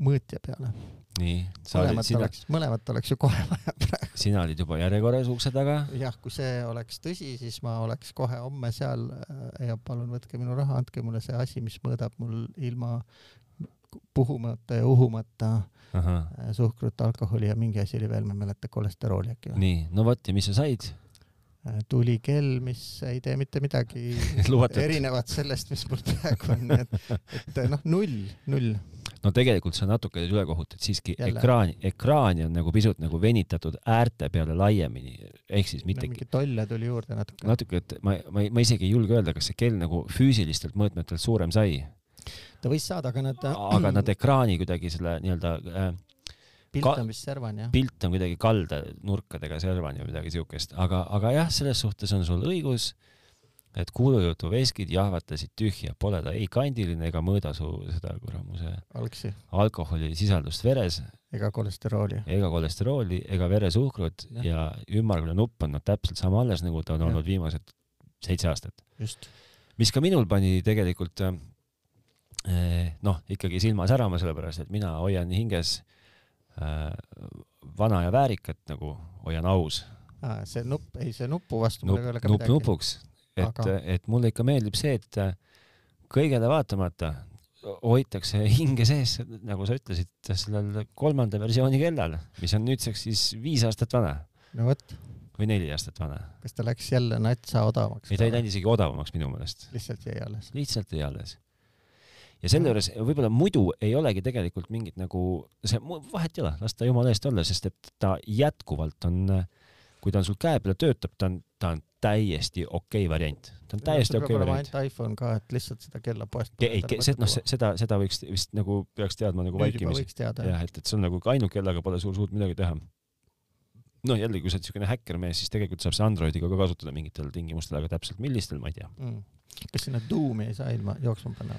Speaker 1: mõõtja peale .
Speaker 2: nii , sa olid ,
Speaker 1: mõlemat
Speaker 2: sina ,
Speaker 1: oleks , mõlemat oleks ju kohe vaja (laughs) praegu .
Speaker 2: sina olid juba järjekorras ukse taga .
Speaker 1: jah , kui see oleks tõsi , siis ma oleks kohe homme seal äh, ja palun võtke minu raha , andke mulle see asi , mis mõõdab mul ilma puhumata ja uhumata äh, suhkrut , alkoholi ja mingi asi oli veel , ma ei mäleta , kolesterooli äkki või ?
Speaker 2: nii , no vot ja mis sa said ? (laughs)
Speaker 1: tuli kell , mis ei tee mitte midagi
Speaker 2: Lubatud.
Speaker 1: erinevat sellest , mis mul praegu on , nii et , et noh , null , null .
Speaker 2: no tegelikult sa natuke olid ülekohut , et siiski
Speaker 1: Jälle.
Speaker 2: ekraani , ekraani on nagu pisut nagu venitatud äärte peale laiemini , ehk siis mitte
Speaker 1: mingi tolle tuli juurde natuke .
Speaker 2: natuke , et ma , ma , ma isegi ei julge öelda , kas see kell nagu füüsilistelt mõõtmetelt suurem sai ,
Speaker 1: ta võis saada , aga nad , äh,
Speaker 2: aga nad ekraani kuidagi selle nii-öelda äh,
Speaker 1: pilt
Speaker 2: ka-
Speaker 1: on vist servane jah .
Speaker 2: pilt on kuidagi kalda nurkadega servani või midagi siukest , aga , aga jah , selles suhtes on sul õigus , et kuulujutu veskid jahvatasid tühja , pole ta ei kandiline ega mõõda su seda kuramuse
Speaker 1: algsi ,
Speaker 2: alkoholisisaldust veres
Speaker 1: ega kolesterooli .
Speaker 2: ega kolesterooli ega veresuhkrut ja,
Speaker 1: Jah.
Speaker 2: ja ümmargune nupp on noh, täpselt sama alles , nagu ta on
Speaker 1: Jah.
Speaker 2: olnud viimased seitse aastat .
Speaker 1: just .
Speaker 2: mis ka minul pani tegelikult äh, eh, noh , ikkagi silma särama , sellepärast et mina hoian hinges äh, vana ja väärikat nagu , hoian aus ,
Speaker 1: aa , Ah, see nupp , ei see nupu vastu mul
Speaker 2: nupp
Speaker 1: ei ole , ka
Speaker 2: nupp
Speaker 1: midagi .
Speaker 2: nupuks , et
Speaker 1: Aga-
Speaker 2: Aga... , et mulle ikka meeldib see , et äh, kõigele vaatamata hoitakse hinge sees , nagu sa ütlesid , sellel kolmanda versiooni kellal , mis on nüüdseks siis viis aastat vana
Speaker 1: no vot ,
Speaker 2: või neli aastat vana .
Speaker 1: kas ta läks jälle natsa odavamaks ?
Speaker 2: ei , ta ei läinud isegi odavamaks minu meelest .
Speaker 1: lihtsalt jäi alles .
Speaker 2: lihtsalt jäi alles . ja selle juures võib-olla muidu ei olegi tegelikult mingit nagu , see mu- vahet ei ole , las ta jumala eest olla , sest et ta jätkuvalt on , kui ta on sul käe peal ja töötab , ta on , ta on täiesti okei okay variant , ta on täiesti okei okay variant .
Speaker 1: ainult iPhone ka , et lihtsalt seda kella poest .
Speaker 2: ei , see , noh , seda , seda võiks vist nagu peaks teadma nagu
Speaker 1: nüüd juba
Speaker 2: vaikimisi .
Speaker 1: võiks teada .
Speaker 2: jah , et , et see on nagu ainult kellega pole sul suurt midagi teha . no jällegi , kui sa oled niisugune häkkermees , siis tegelikult saab see Androidiga ka kasutada mingitel tingimustel , aga täpselt millistel , ma ei tea .
Speaker 1: kas Mm. sinna tuumi ei saa ilma jooksma panna ?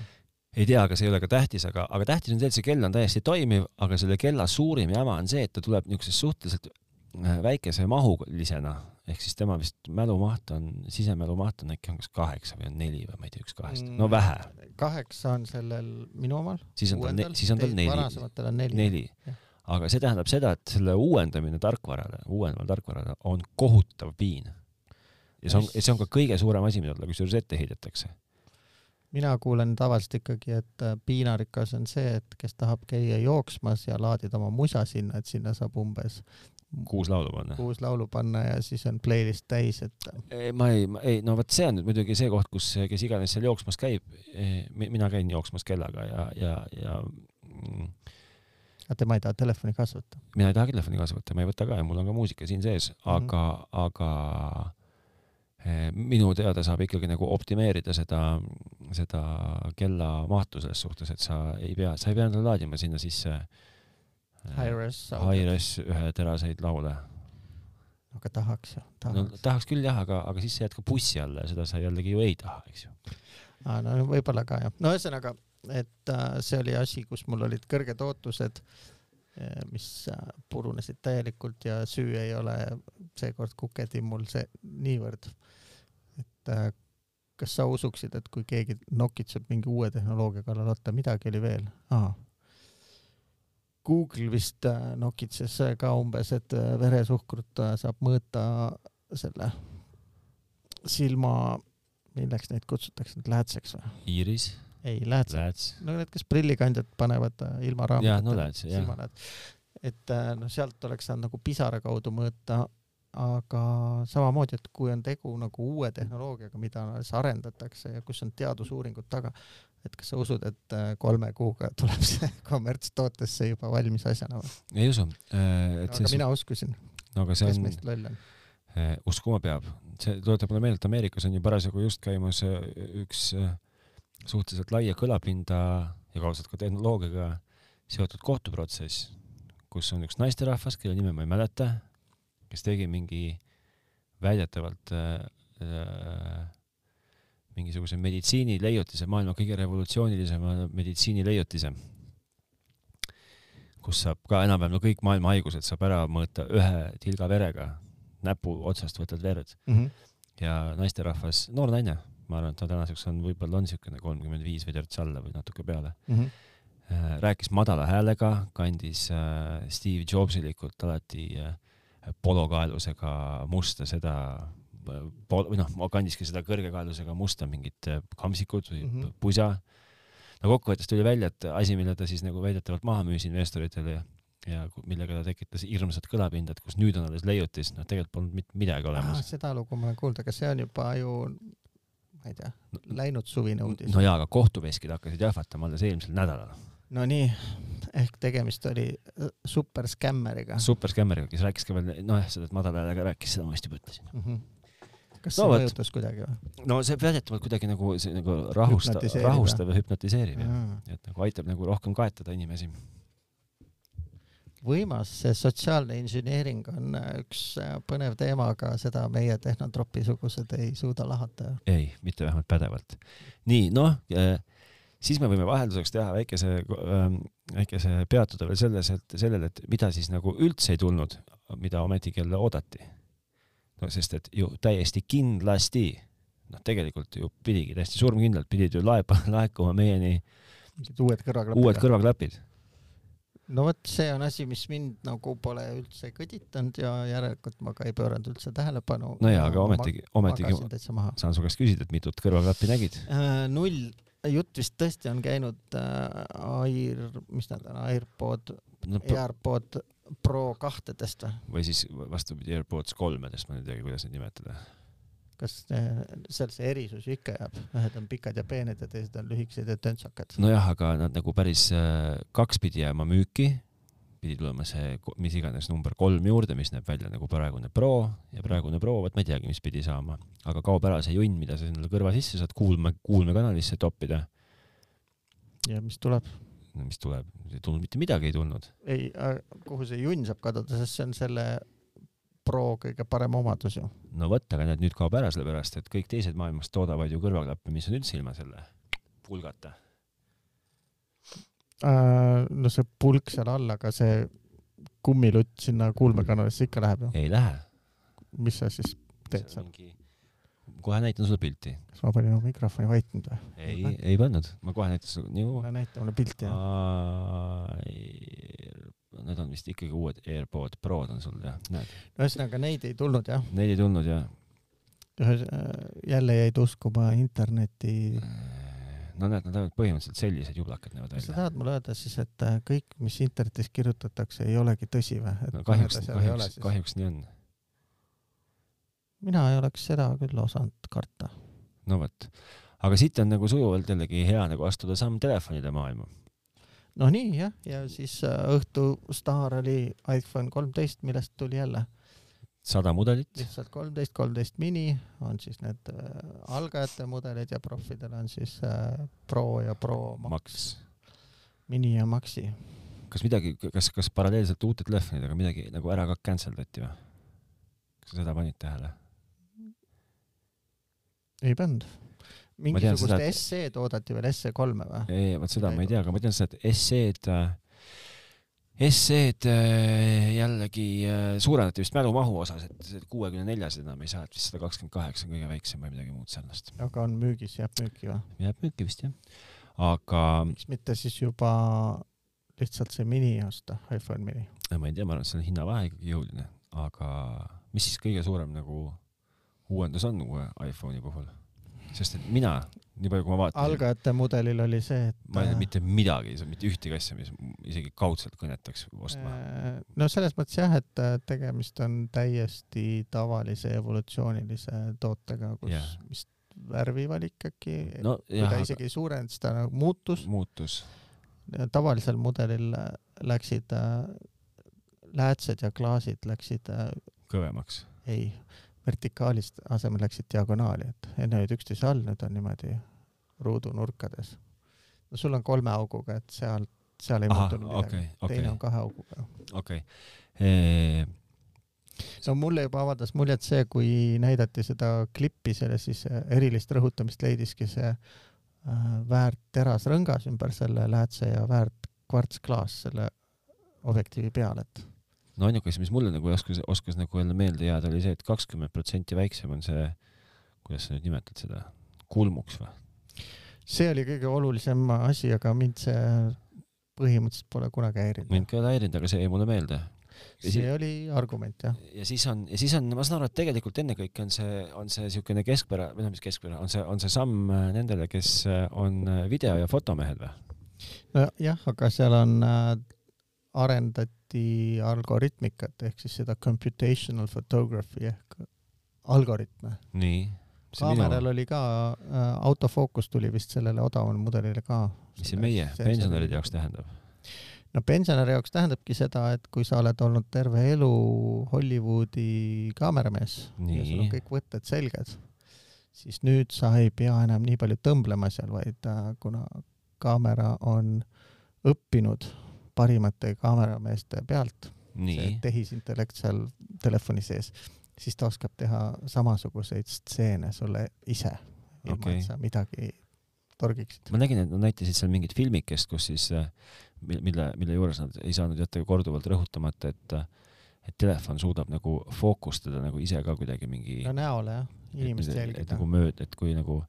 Speaker 2: ei tea , aga see ei ole ka tähtis , aga , aga tähtis on see , et see kell on täiesti toimiv , aga selle kella suurim jama on see , et ta tuleb niisuguses suhteliselt äh, väikese mahulisena , ehk siis tema vist mälumaht on , sisemälumaht on äkki on kas kaheksa või on neli või ma ei tea , üks kahest , no
Speaker 1: Mm.
Speaker 2: vähe ,
Speaker 1: kaheksa on sellel minu omal .
Speaker 2: siis on tal , siis on tal neli ,
Speaker 1: varasematel on neli .
Speaker 2: neli
Speaker 1: Jah. .
Speaker 2: aga see tähendab seda , et selle uuendamine tarkvarale , uueneval tarkvarale on kohutav piin . ja see on , see on ka kõige suurem asi , mida talle kusjuures ette heidetakse .
Speaker 1: mina kuulen tavaliselt ikkagi , et äh, piinarikas on see , et kes tahab käia jooksmas ja laadida oma musa sinna , et sinna saab umbes
Speaker 2: kuus laulu panna.
Speaker 1: kuus laulu panna ja siis on playlist täis , et
Speaker 2: ei , ma ei , ei no vot see on nüüd muidugi see koht , kus , kes iganes seal jooksmas käib , mina käin jooksmas kellaga ja , ja , ja mm,
Speaker 1: aga tema ei taha telefoni kasvata .
Speaker 2: mina ei taha telefoni kaasa võtta , ma ei võta ka ja mul on ka muusika siin sees , aga mm , -hmm. aga eh, minu teada saab ikkagi nagu optimeerida seda , seda kella mahtu selles suhtes , et sa ei pea , sa ei pea endale laadima sinna sisse eh,
Speaker 1: Hi-Res ,
Speaker 2: Hi-Res ühe teraseid laule .
Speaker 1: aga tahaks ju ,
Speaker 2: no
Speaker 1: tahaks .
Speaker 2: tahaks küll jah , aga , aga siis sa jääd ka bussi alla ja seda sa jällegi ju ei taha , eks ju .
Speaker 1: aa , no võib-olla ka jah , no ühesõnaga , et äh, see oli asi , kus mul olid kõrged ootused , mis äh, purunesid täielikult ja süü ei ole seekord kuketimmul see niivõrd , et äh, kas sa usuksid , et kui keegi nokitseb mingi uue tehnoloogia kallal , oota , midagi oli veel ah. . Google vist äh, nokitses ka umbes , et äh, veresuhkrut äh, saab mõõta selle silma , milleks neid kutsutakse , nüüd läätseks või ?
Speaker 2: Iiris ,
Speaker 1: ei , läätsed ,
Speaker 2: Läts .
Speaker 1: no need , kes prillikandjad panevad äh, ilma
Speaker 2: jah , no
Speaker 1: raamatuteta
Speaker 2: Läts , jah .
Speaker 1: silmalääd . et äh, noh , sealt oleks saanud nagu pisara kaudu mõõta , aga samamoodi , et kui on tegu nagu uue tehnoloogiaga , mida alles arendatakse ja kus on teadusuuringud taga , et kas sa usud , et äh, kolme kuuga tuleb see (laughs) kommertstootesse juba valmis asjana või ?
Speaker 2: ei usu . Äh,
Speaker 1: aga see mina uskusin ,
Speaker 2: no aga see
Speaker 1: kes
Speaker 2: on
Speaker 1: meist loll on .
Speaker 2: Eh, uskuma peab , see tuletab mulle meelde , et Ameerikas on ju parasjagu just käimas eh, üks eh, suhteliselt laia kõlapinda ja kaudselt ka tehnoloogiaga seotud kohtuprotsess , kus on üks naisterahvas , kelle nime ma ei mäleta , kes tegi mingi väidetavalt eh, eh, mingisuguse meditsiinileiutise , maailma kõige revolutsioonilisema meditsiinileiutise , kus saab ka enam-vähem no kõik maailma haigused saab ära mõõta ühe tilga verega , näpu otsast võtad verd
Speaker 1: Mm -hmm.
Speaker 2: ja naisterahvas , noor naine , ma arvan , et ta tänaseks on , võib-olla on niisugune kolmkümmend viis või terts alla või natuke peale ,
Speaker 1: Mm -hmm.
Speaker 2: rääkis madala häälega , kandis äh, Steve Jobsilikult alati äh, polokaelusega musta seda äh, pol- , või noh , kandiski seda kõrge kaelusega musta mingit äh, kamsikut või mm
Speaker 1: Mhm.
Speaker 2: -hmm. pusa . no kokkuvõttes tuli välja , et asi , mille ta siis nagu väidetavalt maha müüs investoritele ja ja ku- millega ta tekitas hirmsat kõlapindat , kus nüüd on alles leiutis , noh , tegelikult polnud mitte midagi olemas
Speaker 1: Ah, . seda lugu ma olen kuulnud , aga see on juba ju , ma ei tea , läinud suvine uudis .
Speaker 2: no jaa , aga kohtuveskid hakkasid jahvatama alles eelmisel nädalal .
Speaker 1: Nonii , ehk tegemist oli äh, superskämmeriga .
Speaker 2: super skämmeriga , kes rääkis ka veel , nojah , seda , et madala häälega rääkis , seda ma vist juba ütlesin .
Speaker 1: Mhm. kas
Speaker 2: No
Speaker 1: see
Speaker 2: vot.
Speaker 1: mõjutas kuidagi või ?
Speaker 2: no see väidetavalt kuidagi nagu , see nagu rahustav ,
Speaker 1: Hüpnotiseerib,
Speaker 2: rahustav ja hüpnotiseerib jah . et nagu aitab nagu rohkem kaetada inimesi .
Speaker 1: võimas , see sotsiaalne inseneering on äh, üks äh, põnev teema , aga seda meie tehnotropi sugused ei suuda lahata .
Speaker 2: ei , mitte vähemalt pädevalt . nii , noh , siis me võime vahelduseks teha väikese , väikese peatuda veel selles , et sellele , et mida siis nagu üldse ei tulnud , mida ometigi jälle oodati . no sest , et ju täiesti kindlasti , noh , tegelikult ju pidigi täiesti surmkindlalt pidid ju laeb , (laughs) laekuma meieni
Speaker 1: mingid uued
Speaker 2: uued
Speaker 1: kõrvaklapid .
Speaker 2: kõrvaklapid .
Speaker 1: no vot , see on asi , mis mind nagu pole üldse kõditanud ja järelikult ma ka ei pööranud üldse tähelepanu .
Speaker 2: no jaa , aga ometigi , ometigi
Speaker 1: magasin täitsa maha .
Speaker 2: saan su käest küsida , et mitut kõrvaklappi nägid ?
Speaker 1: Äh, null , jutt vist tõesti on käinud äh, Air , mis nad on , Airpod ,
Speaker 2: No, pro-
Speaker 1: Airpod Pro kahtedest või ?
Speaker 2: või siis vastupidi , AirPods kolmedest , ma ei teagi , kuidas neid nimetada .
Speaker 1: kas äh, seal see erisus ju ikka jääb , ühed on pikad ja peened ja teised on lühikesed ja töntsakad .
Speaker 2: nojah , aga nad nagu päris äh, kaks pidi jääma müüki , pidi tulema see , mis iganes number kolm juurde , mis näeb välja nagu praegune Pro ja praegune Pro , vot ma ei teagi , mis pidi saama , aga kaob ära see junn , mida sa sinna kõrva sisse saad kuulme , kuulmekanalisse toppida .
Speaker 1: ja mis tuleb ?
Speaker 2: no mis tuleb , ei tulnud mitte midagi , ei tulnud .
Speaker 1: ei , kuhu see junn saab kaduda , sest see on selle Pro kõige parem omadus ju .
Speaker 2: no vot , aga näed , nüüd kaob ära , sellepärast et kõik teised maailmas toodavad ju kõrvaklappe , mis on üldse ilma selle pulgata .
Speaker 1: Äh, no see pulk seal all , aga see kummilutt sinna kuulmekanalisse ikka läheb ju .
Speaker 2: ei lähe .
Speaker 1: mis sa siis teed seal ?
Speaker 2: mingi , kohe näitan sulle pilti .
Speaker 1: kas ma panin oma mikrofoni vaiknud või ?
Speaker 2: ei , ei pannud , ma kohe näitan sulle , nii
Speaker 1: mulle näita mulle pilti jah .
Speaker 2: Air... Need on vist ikkagi uued AirPod Prod on sul jah , näed ,
Speaker 1: ühesõnaga neid ei tulnud jah .
Speaker 2: neid ei tulnud jah .
Speaker 1: jälle jäid uskuma interneti
Speaker 2: no näed, nad näevad põhimõtteliselt sellised jublakad näevad
Speaker 1: kas sa
Speaker 2: välja .
Speaker 1: tahad mulle öelda siis , et äh, kõik , mis internetis kirjutatakse , ei olegi tõsi või ?
Speaker 2: no kahjuks , kahjuks , kahjuks nii on .
Speaker 1: mina ei oleks seda küll osanud karta .
Speaker 2: no vot . aga siit on nagu sujuvalt jällegi hea nagu astuda samm telefonide maailma .
Speaker 1: no nii jah , ja siis äh, õhtu staar oli iPhone kolmteist , millest tuli jälle
Speaker 2: sada mudelit ,
Speaker 1: lihtsalt kolmteist , kolmteist mini on siis need äh, algajate mudelid ja proffidel on siis äh, Pro ja Pro Max ,
Speaker 2: maks .
Speaker 1: mini ja Maxi .
Speaker 2: kas midagi , kas , kas paralleelselt uute telefonidega midagi nagu ära ka cancel dati või ? kas sa seda panid tähele ?
Speaker 1: ei pannud .
Speaker 2: tean
Speaker 1: mingisugust
Speaker 2: seda, et-
Speaker 1: SE toodati veel , SE kolme või ?
Speaker 2: ei , vot seda ma ei tea , aga ma tean seda , et SE-d , SE-d äh, jällegi äh, suurendati vist mälumahu osas , et kuuekümne neljas enam ei saa , et vist sada kakskümmend kaheksa on kõige väiksem või midagi muud sarnast .
Speaker 1: aga on müügis , jääb müüki või ?
Speaker 2: jääb müüki vist jah . aga
Speaker 1: miks mitte siis juba lihtsalt see mini osta , iPhone mini .
Speaker 2: äh, ma ei tea , ma arvan , et see on hinnavahe ikkagi jõuline , aga mis siis kõige suurem nagu uuendus on uue iPhone'i puhul ? sest et mina , nii palju kui ma vaatan .
Speaker 1: algajate mudelil oli see , et
Speaker 2: ma ei tea mitte midagi , mitte ühtegi asja , mis isegi kaudselt kõnetaks ostma .
Speaker 1: äh, no selles mõttes jah , et äh, tegemist on täiesti tavalise evolutsioonilise tootega , kus
Speaker 2: Jah.
Speaker 1: yeah. vist värvivalik äkki no, , Äh, kui
Speaker 2: nojah
Speaker 1: ta , isegi ei suurenenud , siis ta nagu muutus .
Speaker 2: muutus .
Speaker 1: tavalisel mudelil äh, läksid äh, läätsed ja klaasid läksid äh,
Speaker 2: kõvemaks .
Speaker 1: ei , vertikaalist asemel läksid diagonaali , et enne olid üksteise all , nüüd on niimoodi ruudunurkades . no sul on kolme auguga , et seal , seal ei
Speaker 2: ahah ,
Speaker 1: muutunud midagi okay, .
Speaker 2: okei ,
Speaker 1: teine
Speaker 2: okei
Speaker 1: on , kahe auguga .
Speaker 2: okei .
Speaker 1: no mulle juba avaldas muljet see , kui näidati seda klippi selles , siis äh, erilist rõhutamist leidiski see äh, väärt terasrõngas ümber selle läätse ja väärt kvartsklaas selle objektiivi peal , et
Speaker 2: no ainuke asi , mis mulle nagu oskas , oskas nagu jälle meelde jääda , oli see et, et kakskümmend protsenti väiksem on see , kuidas sa nüüd nimetad seda , kulmuks või ?
Speaker 1: see oli kõige olulisem asi , aga mind see põhimõtteliselt pole kunagi häirinud .
Speaker 2: mind ka ei häirinud , aga see jäi mulle meelde . Ja
Speaker 1: see
Speaker 2: si-
Speaker 1: oli argument jah .
Speaker 2: ja siis on , ja siis on , ma saan aru , et tegelikult ennekõike on see , on see niisugune keskpära , või noh , mis keskpära , on see , on see samm äh, nendele , kes äh, on äh, video- ja fotomehed või ?
Speaker 1: nojah , aga seal on , arendati algoritmikat ehk siis seda computational photography ehk algoritme .
Speaker 2: nii .
Speaker 1: kaameral oli ka , autofookus tuli vist sellele odavamale mudelile ka .
Speaker 2: mis see meie pensionäride jaoks ? tähendab ?
Speaker 1: no pensionäri jaoks tähendabki seda , et kui sa oled olnud terve elu Hollywoodi kaameramees ja sul
Speaker 2: nii
Speaker 1: on , kõik võtted selged , siis nüüd sa ei pea enam nii palju tõmblema seal , vaid äh, kuna kaamera on õppinud parimate kaamerameeste pealt , see
Speaker 2: nii ,
Speaker 1: tehisintellekt seal telefoni sees , siis ta oskab teha samasuguseid stseene sulle ise , ilma okay.
Speaker 2: Okei.
Speaker 1: et sa midagi torgiksid .
Speaker 2: ma nägin , et nad näitasid seal mingit filmikest , kus siis , mille , mille juures nad ei saanud jätta korduvalt rõhutamata , et , et telefon suudab nagu fookustada nagu ise ka kuidagi mingi
Speaker 1: no näole jah ,
Speaker 2: et, et,
Speaker 1: inimest
Speaker 2: et
Speaker 1: jälgida
Speaker 2: nagu . mööda , et kui nagu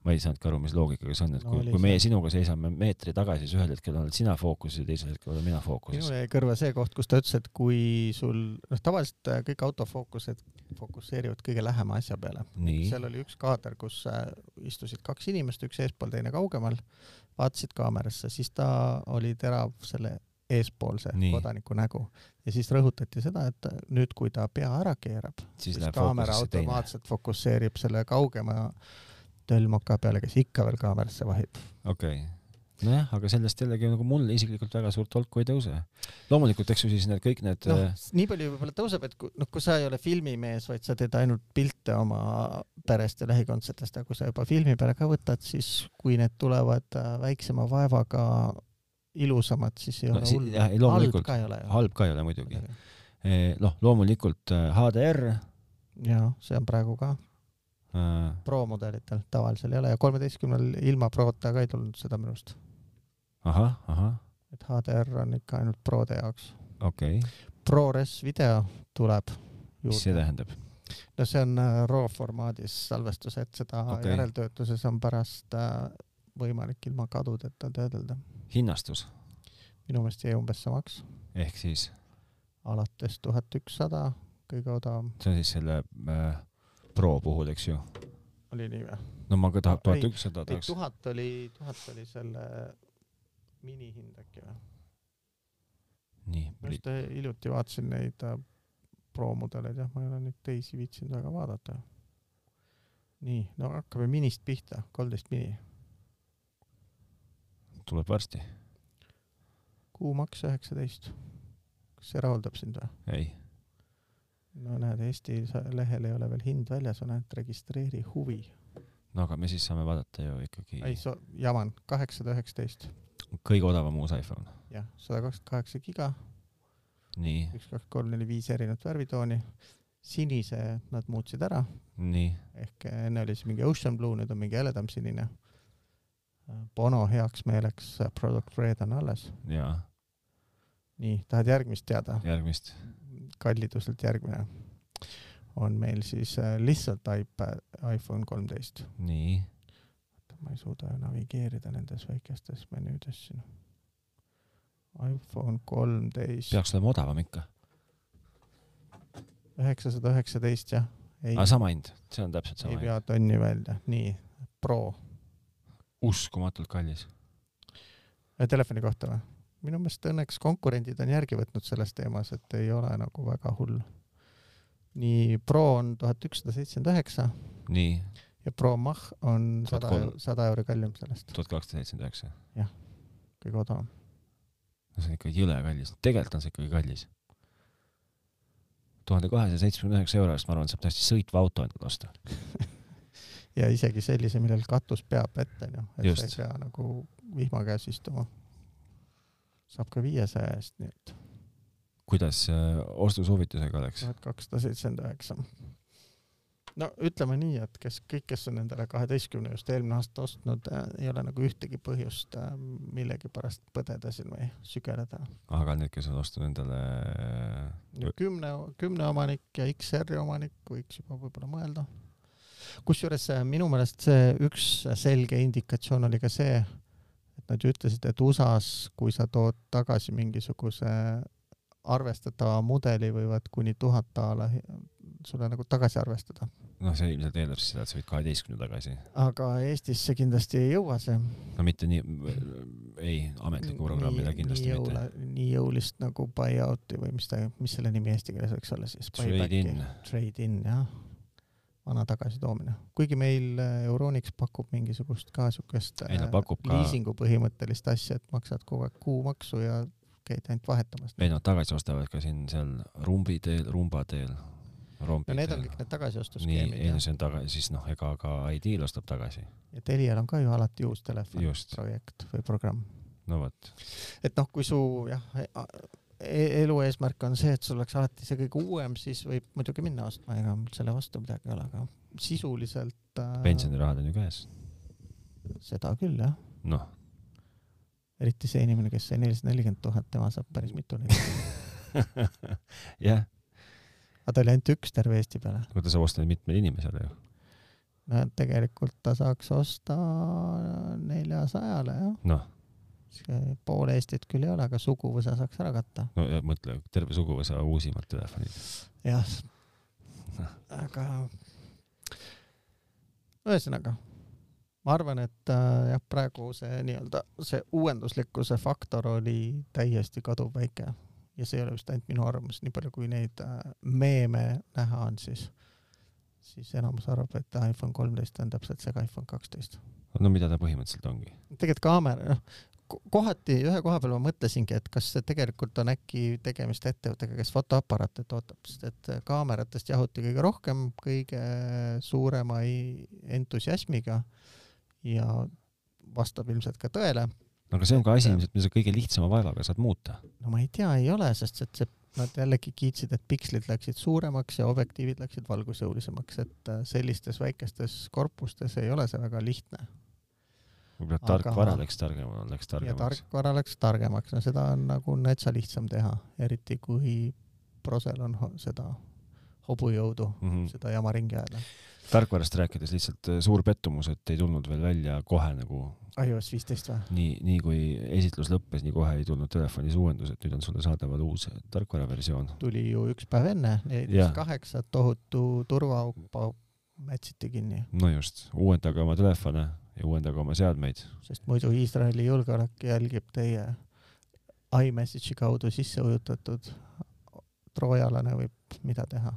Speaker 2: ma ei saanudki aru , mis loogikaga see on , et
Speaker 1: No
Speaker 2: kui
Speaker 1: oli
Speaker 2: no, , kui
Speaker 1: see.
Speaker 2: meie sinuga seisame meetri tagasi , siis ühel hetkel oled sina fookuses ja teisel hetkel olen mina fookuses
Speaker 1: minul . jäi kõrva see koht , kus ta ütles , et kui sul , noh tavaliselt äh, kõik autofookused fokusseerivad kõige lähema asja peale .
Speaker 2: nii ,
Speaker 1: seal oli üks kaader , kus äh, istusid kaks inimest , üks eespool , teine kaugemal , vaatasid kaamerasse , siis ta oli terav selle eespoolse
Speaker 2: Nii.
Speaker 1: Nii. kodaniku nägu ja siis rõhutati seda , et äh, nüüd , kui ta pea ära keerab ,
Speaker 2: siis
Speaker 1: siis
Speaker 2: läheb
Speaker 1: kaamera
Speaker 2: fookusesse teine .
Speaker 1: automaatselt fokusseerib selle kaugema tölmoka peale , kes ikka veel kaamerasse vahib .
Speaker 2: okei okay. . nojah , aga sellest jällegi nagu mul isiklikult väga suurt tolku ei tõuse . loomulikult , eks ju siis need kõik need äh,
Speaker 1: noh
Speaker 2: no. ,
Speaker 1: nii palju võib-olla tõuseb , et kui, noh , kui sa ei ole filmimees , vaid sa teed ainult pilte oma perest ja lähikondsetest , aga kui sa juba filmi peale ka võtad , siis kui need tulevad äh, väiksema vaevaga ilusamad , siis ei
Speaker 2: No
Speaker 1: ole
Speaker 2: si-
Speaker 1: hullu
Speaker 2: jah, ei, .
Speaker 1: halb
Speaker 2: loomulikult.
Speaker 1: ka ei ole ju .
Speaker 2: halb ka ei ole muidugi . noh , loomulikult eh, HDR eh,
Speaker 1: jaa , see on praegu ka
Speaker 2: e,
Speaker 1: promudelitel , tavalisel ei ole ja kolmeteistkümnel ilma prota ka ei tulnud seda minu arust .
Speaker 2: ahah , ahah ,
Speaker 1: et HDR on ikka ainult prode jaoks .
Speaker 2: okei okay. ,
Speaker 1: ProRes video tuleb
Speaker 2: mis see
Speaker 1: juurde .
Speaker 2: tähendab ?
Speaker 1: no see on äh, RAW formaadis salvestus , et seda
Speaker 2: Okei.
Speaker 1: okay. järeltöötluses on pärast äh, võimalik ilma kadudeta töödelda .
Speaker 2: hinnastus
Speaker 1: minu meelest jäi umbes samaks ,
Speaker 2: ehk siis ,
Speaker 1: alates tuhat ükssada , kõige odavam
Speaker 2: see on siis selle äh, Pro e, puhul , eks ju ,
Speaker 1: oli nii või ?
Speaker 2: no ma ka tahaks
Speaker 1: Ei,
Speaker 2: tuhat ükssada
Speaker 1: ei
Speaker 2: tahaks .
Speaker 1: tuhat oli , tuhat oli selle minihind äkki või ?
Speaker 2: nii ,
Speaker 1: ma just eh, hiljuti vaatasin neid äh, promudeleid , jah , ma ei ole neid teisi viitsinud väga vaadata . nii , no hakkame minist pihta , kolmteist mini ,
Speaker 2: tuleb varsti .
Speaker 1: kuumaks üheksateist . kas see rahuldab sind või ?
Speaker 2: ei ,
Speaker 1: no näed , Eesti sa- lehel ei ole veel hind väljas , on ainult registreeri huvi .
Speaker 2: no aga me siis saame vaadata ju
Speaker 1: ei ,
Speaker 2: ikkagi
Speaker 1: sa , jaman , kaheksasada üheksateist ,
Speaker 2: kõige odavam uus iPhone .
Speaker 1: jah , sada kakskümmend kaheksa giga ,
Speaker 2: nii ,
Speaker 1: üks , kaks , kolm , neli , viis erinevat värvitooni . sinise nad muutsid ära ,
Speaker 2: nii ,
Speaker 1: ehk enne oli siis mingi Ocean Blue , nüüd on mingi heledam sinine . Bono heaks meeleks äh, Product Red on alles .
Speaker 2: jaa ,
Speaker 1: nii , tahad järgmist teada ?
Speaker 2: järgmist .
Speaker 1: kalliduselt järgmine on meil siis äh, lihtsalt iPad , iPhone kolmteist .
Speaker 2: nii ,
Speaker 1: ma ei suuda navigeerida nendes väikestes menüüdes siin . iPhone kolmteist ,
Speaker 2: peaks olema odavam ikka .
Speaker 1: üheksasada üheksateist jah . ei ,
Speaker 2: aga sama hind , see on täpselt
Speaker 1: ei
Speaker 2: sama hind .
Speaker 1: pea tonni välja , nii , Pro ,
Speaker 2: uskumatult kallis .
Speaker 1: Äh, telefoni kohta või ? minu meelest õnneks konkurendid on järgi võtnud selles teemas , et ei ole nagu väga hull . nii , Pro on tuhat ükssada seitsekümmend üheksa
Speaker 2: nii ,
Speaker 1: ja Pro Mach on
Speaker 2: Tuhat
Speaker 1: sada
Speaker 2: kolm- ,
Speaker 1: sada euri kallim sellest ,
Speaker 2: tuhat kakssada seitsekümmend üheksa .
Speaker 1: kõige odavam .
Speaker 2: no see on ikka jõle kallis , tegelikult on see ikkagi kallis . tuhande kahesaja seitsmekümne üheksa euro eest , ma arvan , saab täiesti sõitva auto endale osta .
Speaker 1: ja isegi sellise , millel katus peab ette , onju , et sa
Speaker 2: Just.
Speaker 1: ei pea nagu vihma käes istuma . saab ka viiesaja eest , nii et
Speaker 2: kuidas äh, ostusoovitusega oleks ?
Speaker 1: tuhat kakssada seitsekümmend üheksa . no ütleme nii , et kes kõik , kes on endale kaheteistkümne just eelmine aasta ostnud , ei ole nagu ühtegi põhjust äh, millegipärast põdeda siin või sügeleda .
Speaker 2: aga need , kes on ostnud endale äh,
Speaker 1: kümne , kümne omanik ja XR-i omanik võiks juba võib-olla mõelda . kusjuures äh, minu meelest see üks selge indikatsioon oli ka see , et nad ju ütlesid , et USA-s , kui sa tood tagasi mingisuguse arvestatava mudeli , võivad kuni tuhat daala hi- sulle nagu tagasi arvestada .
Speaker 2: noh , see ilmselt eeldab siis seda , et sa võid kaheteistkümne tagasi ,
Speaker 1: aga Eestis see kindlasti ei jõua , see
Speaker 2: no mitte nii , ei , ametliku programmiga kindlasti
Speaker 1: nii
Speaker 2: mitte .
Speaker 1: jõula- nii jõulist nagu buyout'i või mis ta , mis selle nimi eesti keeles võiks olla siis ?
Speaker 2: Trade in ,
Speaker 1: trade in jah , vana tagasitoomine , kuigi meil äh, Euronix pakub mingisugust ka siukest
Speaker 2: ei ta
Speaker 1: äh,
Speaker 2: pakub ka ,
Speaker 1: liisingu põhimõttelist asja , et maksad kogu aeg kuumaksu ja käid ainult vahetamas .
Speaker 2: ei nad tagasi ostavad ka siin seal Rumbi teel , Rumba teel , Rombi
Speaker 1: no need on
Speaker 2: teel
Speaker 1: kõik . need
Speaker 2: nii ,
Speaker 1: tagasiostuskeemid
Speaker 2: ei no
Speaker 1: jah ,
Speaker 2: see on tagasi , siis noh , ega ka iDeal ostab tagasi ,
Speaker 1: ja Telial on ka ju alati uus telefon ,
Speaker 2: just ,
Speaker 1: projekt või programm .
Speaker 2: no vot .
Speaker 1: et noh , kui su jah , elu eesmärk on see , et sul oleks alati see kõige uuem , siis võib muidugi minna ostma , ega mul selle vastu midagi ei ole , aga sisuliselt äh,
Speaker 2: pensionirahad on ju käes .
Speaker 1: seda küll jah (laughs)
Speaker 2: noh ,
Speaker 1: eriti see inimene , kes sai nelisada nelikümmend tuhat , tema saab päris mitu neid .
Speaker 2: jah ,
Speaker 1: aga ta oli ainult üks terve Eesti peale .
Speaker 2: aga ta saab osta neid mitmele inimesele ju .
Speaker 1: no tegelikult ta saaks osta neljasajale jah .
Speaker 2: noh ,
Speaker 1: pool Eestit küll ei ole , aga suguvõsa saaks ära katta .
Speaker 2: no ja mõtle , terve suguvõsa uusimad telefonid .
Speaker 1: jah . aga ühesõnaga , ma arvan , et äh, jah , praegu see nii-öelda see uuenduslikkuse faktor oli täiesti kaduvväike ja see ei ole vist ainult minu arvamus , nii palju kui neid äh, meeme näha on , siis , siis enamus arvab , et iPhone kolmteist on täpselt see ka iPhone kaksteist .
Speaker 2: no mida ta põhimõtteliselt ongi .
Speaker 1: tegelikult kaamera , noh , kohati ühe koha peal ma mõtlesingi , et kas see tegelikult on äkki tegemist ettevõttega , kes fotoaparaate toodab , sest et kaameratest jahuti kõige rohkem , kõige suurema i- entusiasmiga ja vastab ilmselt ka tõele .
Speaker 2: aga see on ka asi ilmselt , mida sa kõige lihtsama vaevaga saad muuta .
Speaker 1: no ma ei tea , ei ole , sest et see Nad jällegi kiitsid , et pikslid läksid suuremaks ja objektiivid läksid valgusjõulisemaks , et äh, sellistes väikestes korpustes ei ole see väga lihtne .
Speaker 2: võib-olla
Speaker 1: Aga-
Speaker 2: tarkvara läks targemaks , läks
Speaker 1: ja
Speaker 2: targemaks .
Speaker 1: tarkvara läks targemaks , no seda on nagu natsa lihtsam teha , eriti kui prosel on ho- seda hobujõudu
Speaker 2: Mm -hmm.
Speaker 1: seda jama ringi ajada .
Speaker 2: tarkvarast rääkides lihtsalt äh, suur pettumus , et ei tulnud veel välja kohe nagu
Speaker 1: iOS viisteist või ?
Speaker 2: nii , nii kui esitlus lõppes , nii kohe ei tulnud telefonis uuendus , et nüüd on sulle saadaval uus tarkvaraversioon .
Speaker 1: tuli ju üks päev enne ,
Speaker 2: Jah.
Speaker 1: neliteist kaheksa , tohutu turvaauk pa- mätsiti kinni ,
Speaker 2: no just , uuendage oma telefone ja uuendage oma seadmeid .
Speaker 1: sest muidu Iisraeli julgeolek jälgib teie iMessage'i kaudu sisse ujutatud troojalane võib mida teha ,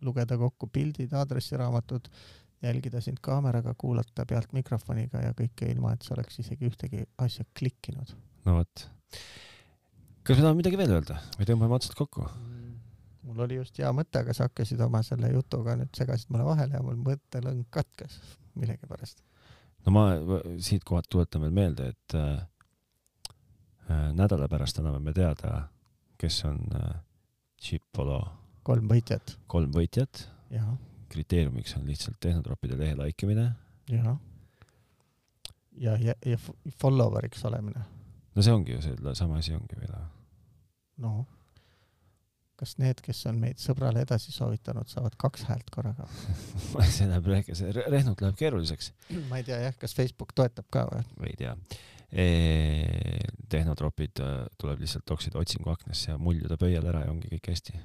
Speaker 1: lugeda kokku pildid , aadressiraamatud , jälgida sind kaameraga , kuulata pealt mikrofoniga ja kõike ilma , et sa oleks isegi ühtegi asja klikkinud .
Speaker 2: no vot . kas me tahame midagi veel öelda või tõmbame otsad kokku ?
Speaker 1: mul oli just hea mõte , aga sa hakkasid oma selle jutuga nüüd segasid mulle vahele ja mul mõttelõng katkes millegipärast .
Speaker 2: no ma v- siitkohalt tuletan veel meelde , et äh, äh, nädala pärast anname me teada , kes on äh, Chipolo
Speaker 1: kolm võitjat .
Speaker 2: kolm võitjat .
Speaker 1: jah ,
Speaker 2: kriteeriumiks on lihtsalt tehnotroppide lehe like imine .
Speaker 1: jah . ja , ja , ja f- follower'iks olemine ,
Speaker 2: no see ongi ju selle sama asi ongi (laughs) veel .
Speaker 1: no . Noh. kas need , kes on meid sõbrale edasi soovitanud , saavad kaks häält korraga ? (clears throat)
Speaker 2: see läheb , see re- rehnut läheb keeruliseks .
Speaker 1: ma ei tea jah , kas Facebook toetab ka või ?
Speaker 2: ma ei tea . tehnotropid äh, tuleb lihtsalt toksida otsinguaknesse ja muljuda pöial ära ja ongi kõik hästi .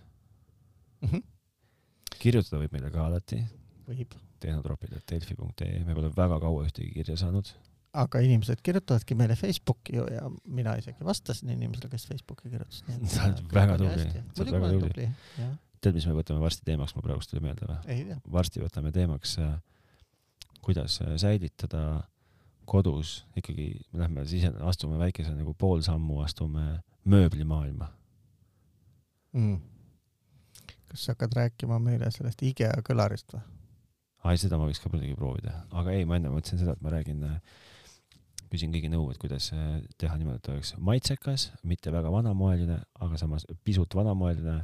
Speaker 2: kirjutada võib meile ka alati
Speaker 1: Mhm. võib ,
Speaker 2: tehnotropid.delfi.ee , me pole väga kaua ühtegi kirja saanud .
Speaker 1: aga inimesed kirjutavadki meile Facebooki ju ja mina isegi vastasin inimesele , kes Facebooki kirjutas .
Speaker 2: Sa oled väga tubli. Sa oled
Speaker 1: muidugi ma
Speaker 2: väga
Speaker 1: olen
Speaker 2: tubli.
Speaker 1: tubli , jah ,
Speaker 2: tead , mis me võtame varsti teemaks , mul praegust tuli meelde või ?
Speaker 1: ei tea .
Speaker 2: varsti võtame teemaks , kuidas äh, säilitada kodus ikkagi , me lähme sise , astume väikese nagu pool sammu , astume mööblimaailma .
Speaker 1: mm. . kas sa hakkad rääkima meile sellest IKEA kõlarist või ?
Speaker 2: ai , seda ma võiks ka muidugi proovida , aga ei , ma enne mõtlesin seda , et ma räägin , küsin kõigi nõu , et kuidas äh, teha niimoodi , et oleks maitsekas , mitte väga vanamoeline , aga samas pisut vanamoeline ,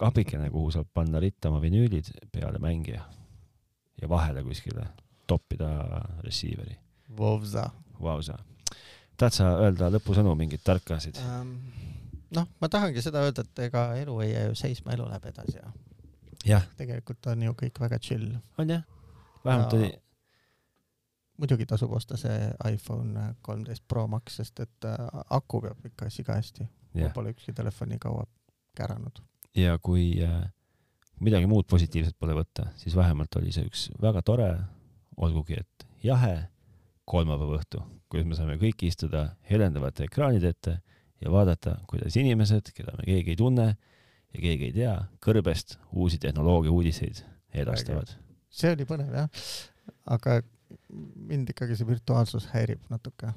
Speaker 2: kapikene , kuhu saab panna ritta oma vinüülid peale mängija ja vahele kuskile toppida receiver'i .
Speaker 1: Vovza
Speaker 2: Vausa . tahad sa öelda lõpusõnu , mingeid tarkasid ?
Speaker 1: ähm, . noh , ma tahangi seda öelda , et ega elu ei jää ju seisma , elu läheb edasi ja
Speaker 2: jah ,
Speaker 1: tegelikult on ju kõik väga chill .
Speaker 2: on jah , vähemalt
Speaker 1: Jaa.
Speaker 2: oli ,
Speaker 1: muidugi tasub osta see iPhone kolmteist Pro Max , sest et äh, aku peab ikka siga hästi . mul
Speaker 2: jah ,
Speaker 1: pole ükski telefon nii kaua käranud .
Speaker 2: ja kui äh, midagi muud positiivset pole võtta , siis vähemalt oli see üks väga tore , olgugi et jahe kolmapäeva õhtu , kus me saime kõik istuda helendavate ekraanide ette ja vaadata , kuidas inimesed , keda me keegi ei tunne ja keegi ei tea , kõrbest uusi tehnoloogia uudiseid edastavad .
Speaker 1: see oli põnev jah , aga mind ikkagi see virtuaalsus häirib natuke .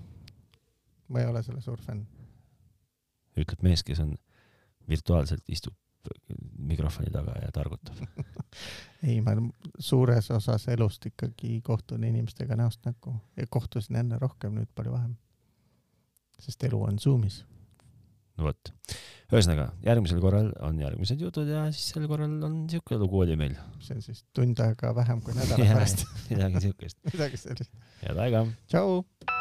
Speaker 1: ma ei ole selle suur fänn .
Speaker 2: ütleb mees , kes on virtuaalselt istub mikrofoni taga ja targutab .
Speaker 1: ei , ma suures osas elust ikkagi kohtun inimestega näost näkku ja kohtusin enne rohkem , nüüd palju vähem . sest elu on Zoomis .
Speaker 2: no vot , ühesõnaga järgmisel korral on järgmised jutud ja siis sel korral on siuke lugu oli meil ,
Speaker 1: see on siis tund aega vähem kui nädala (laughs)
Speaker 2: Jaa.
Speaker 1: pärast .
Speaker 2: midagi siukest .
Speaker 1: midagi sellist .
Speaker 2: head aega .
Speaker 1: tšau .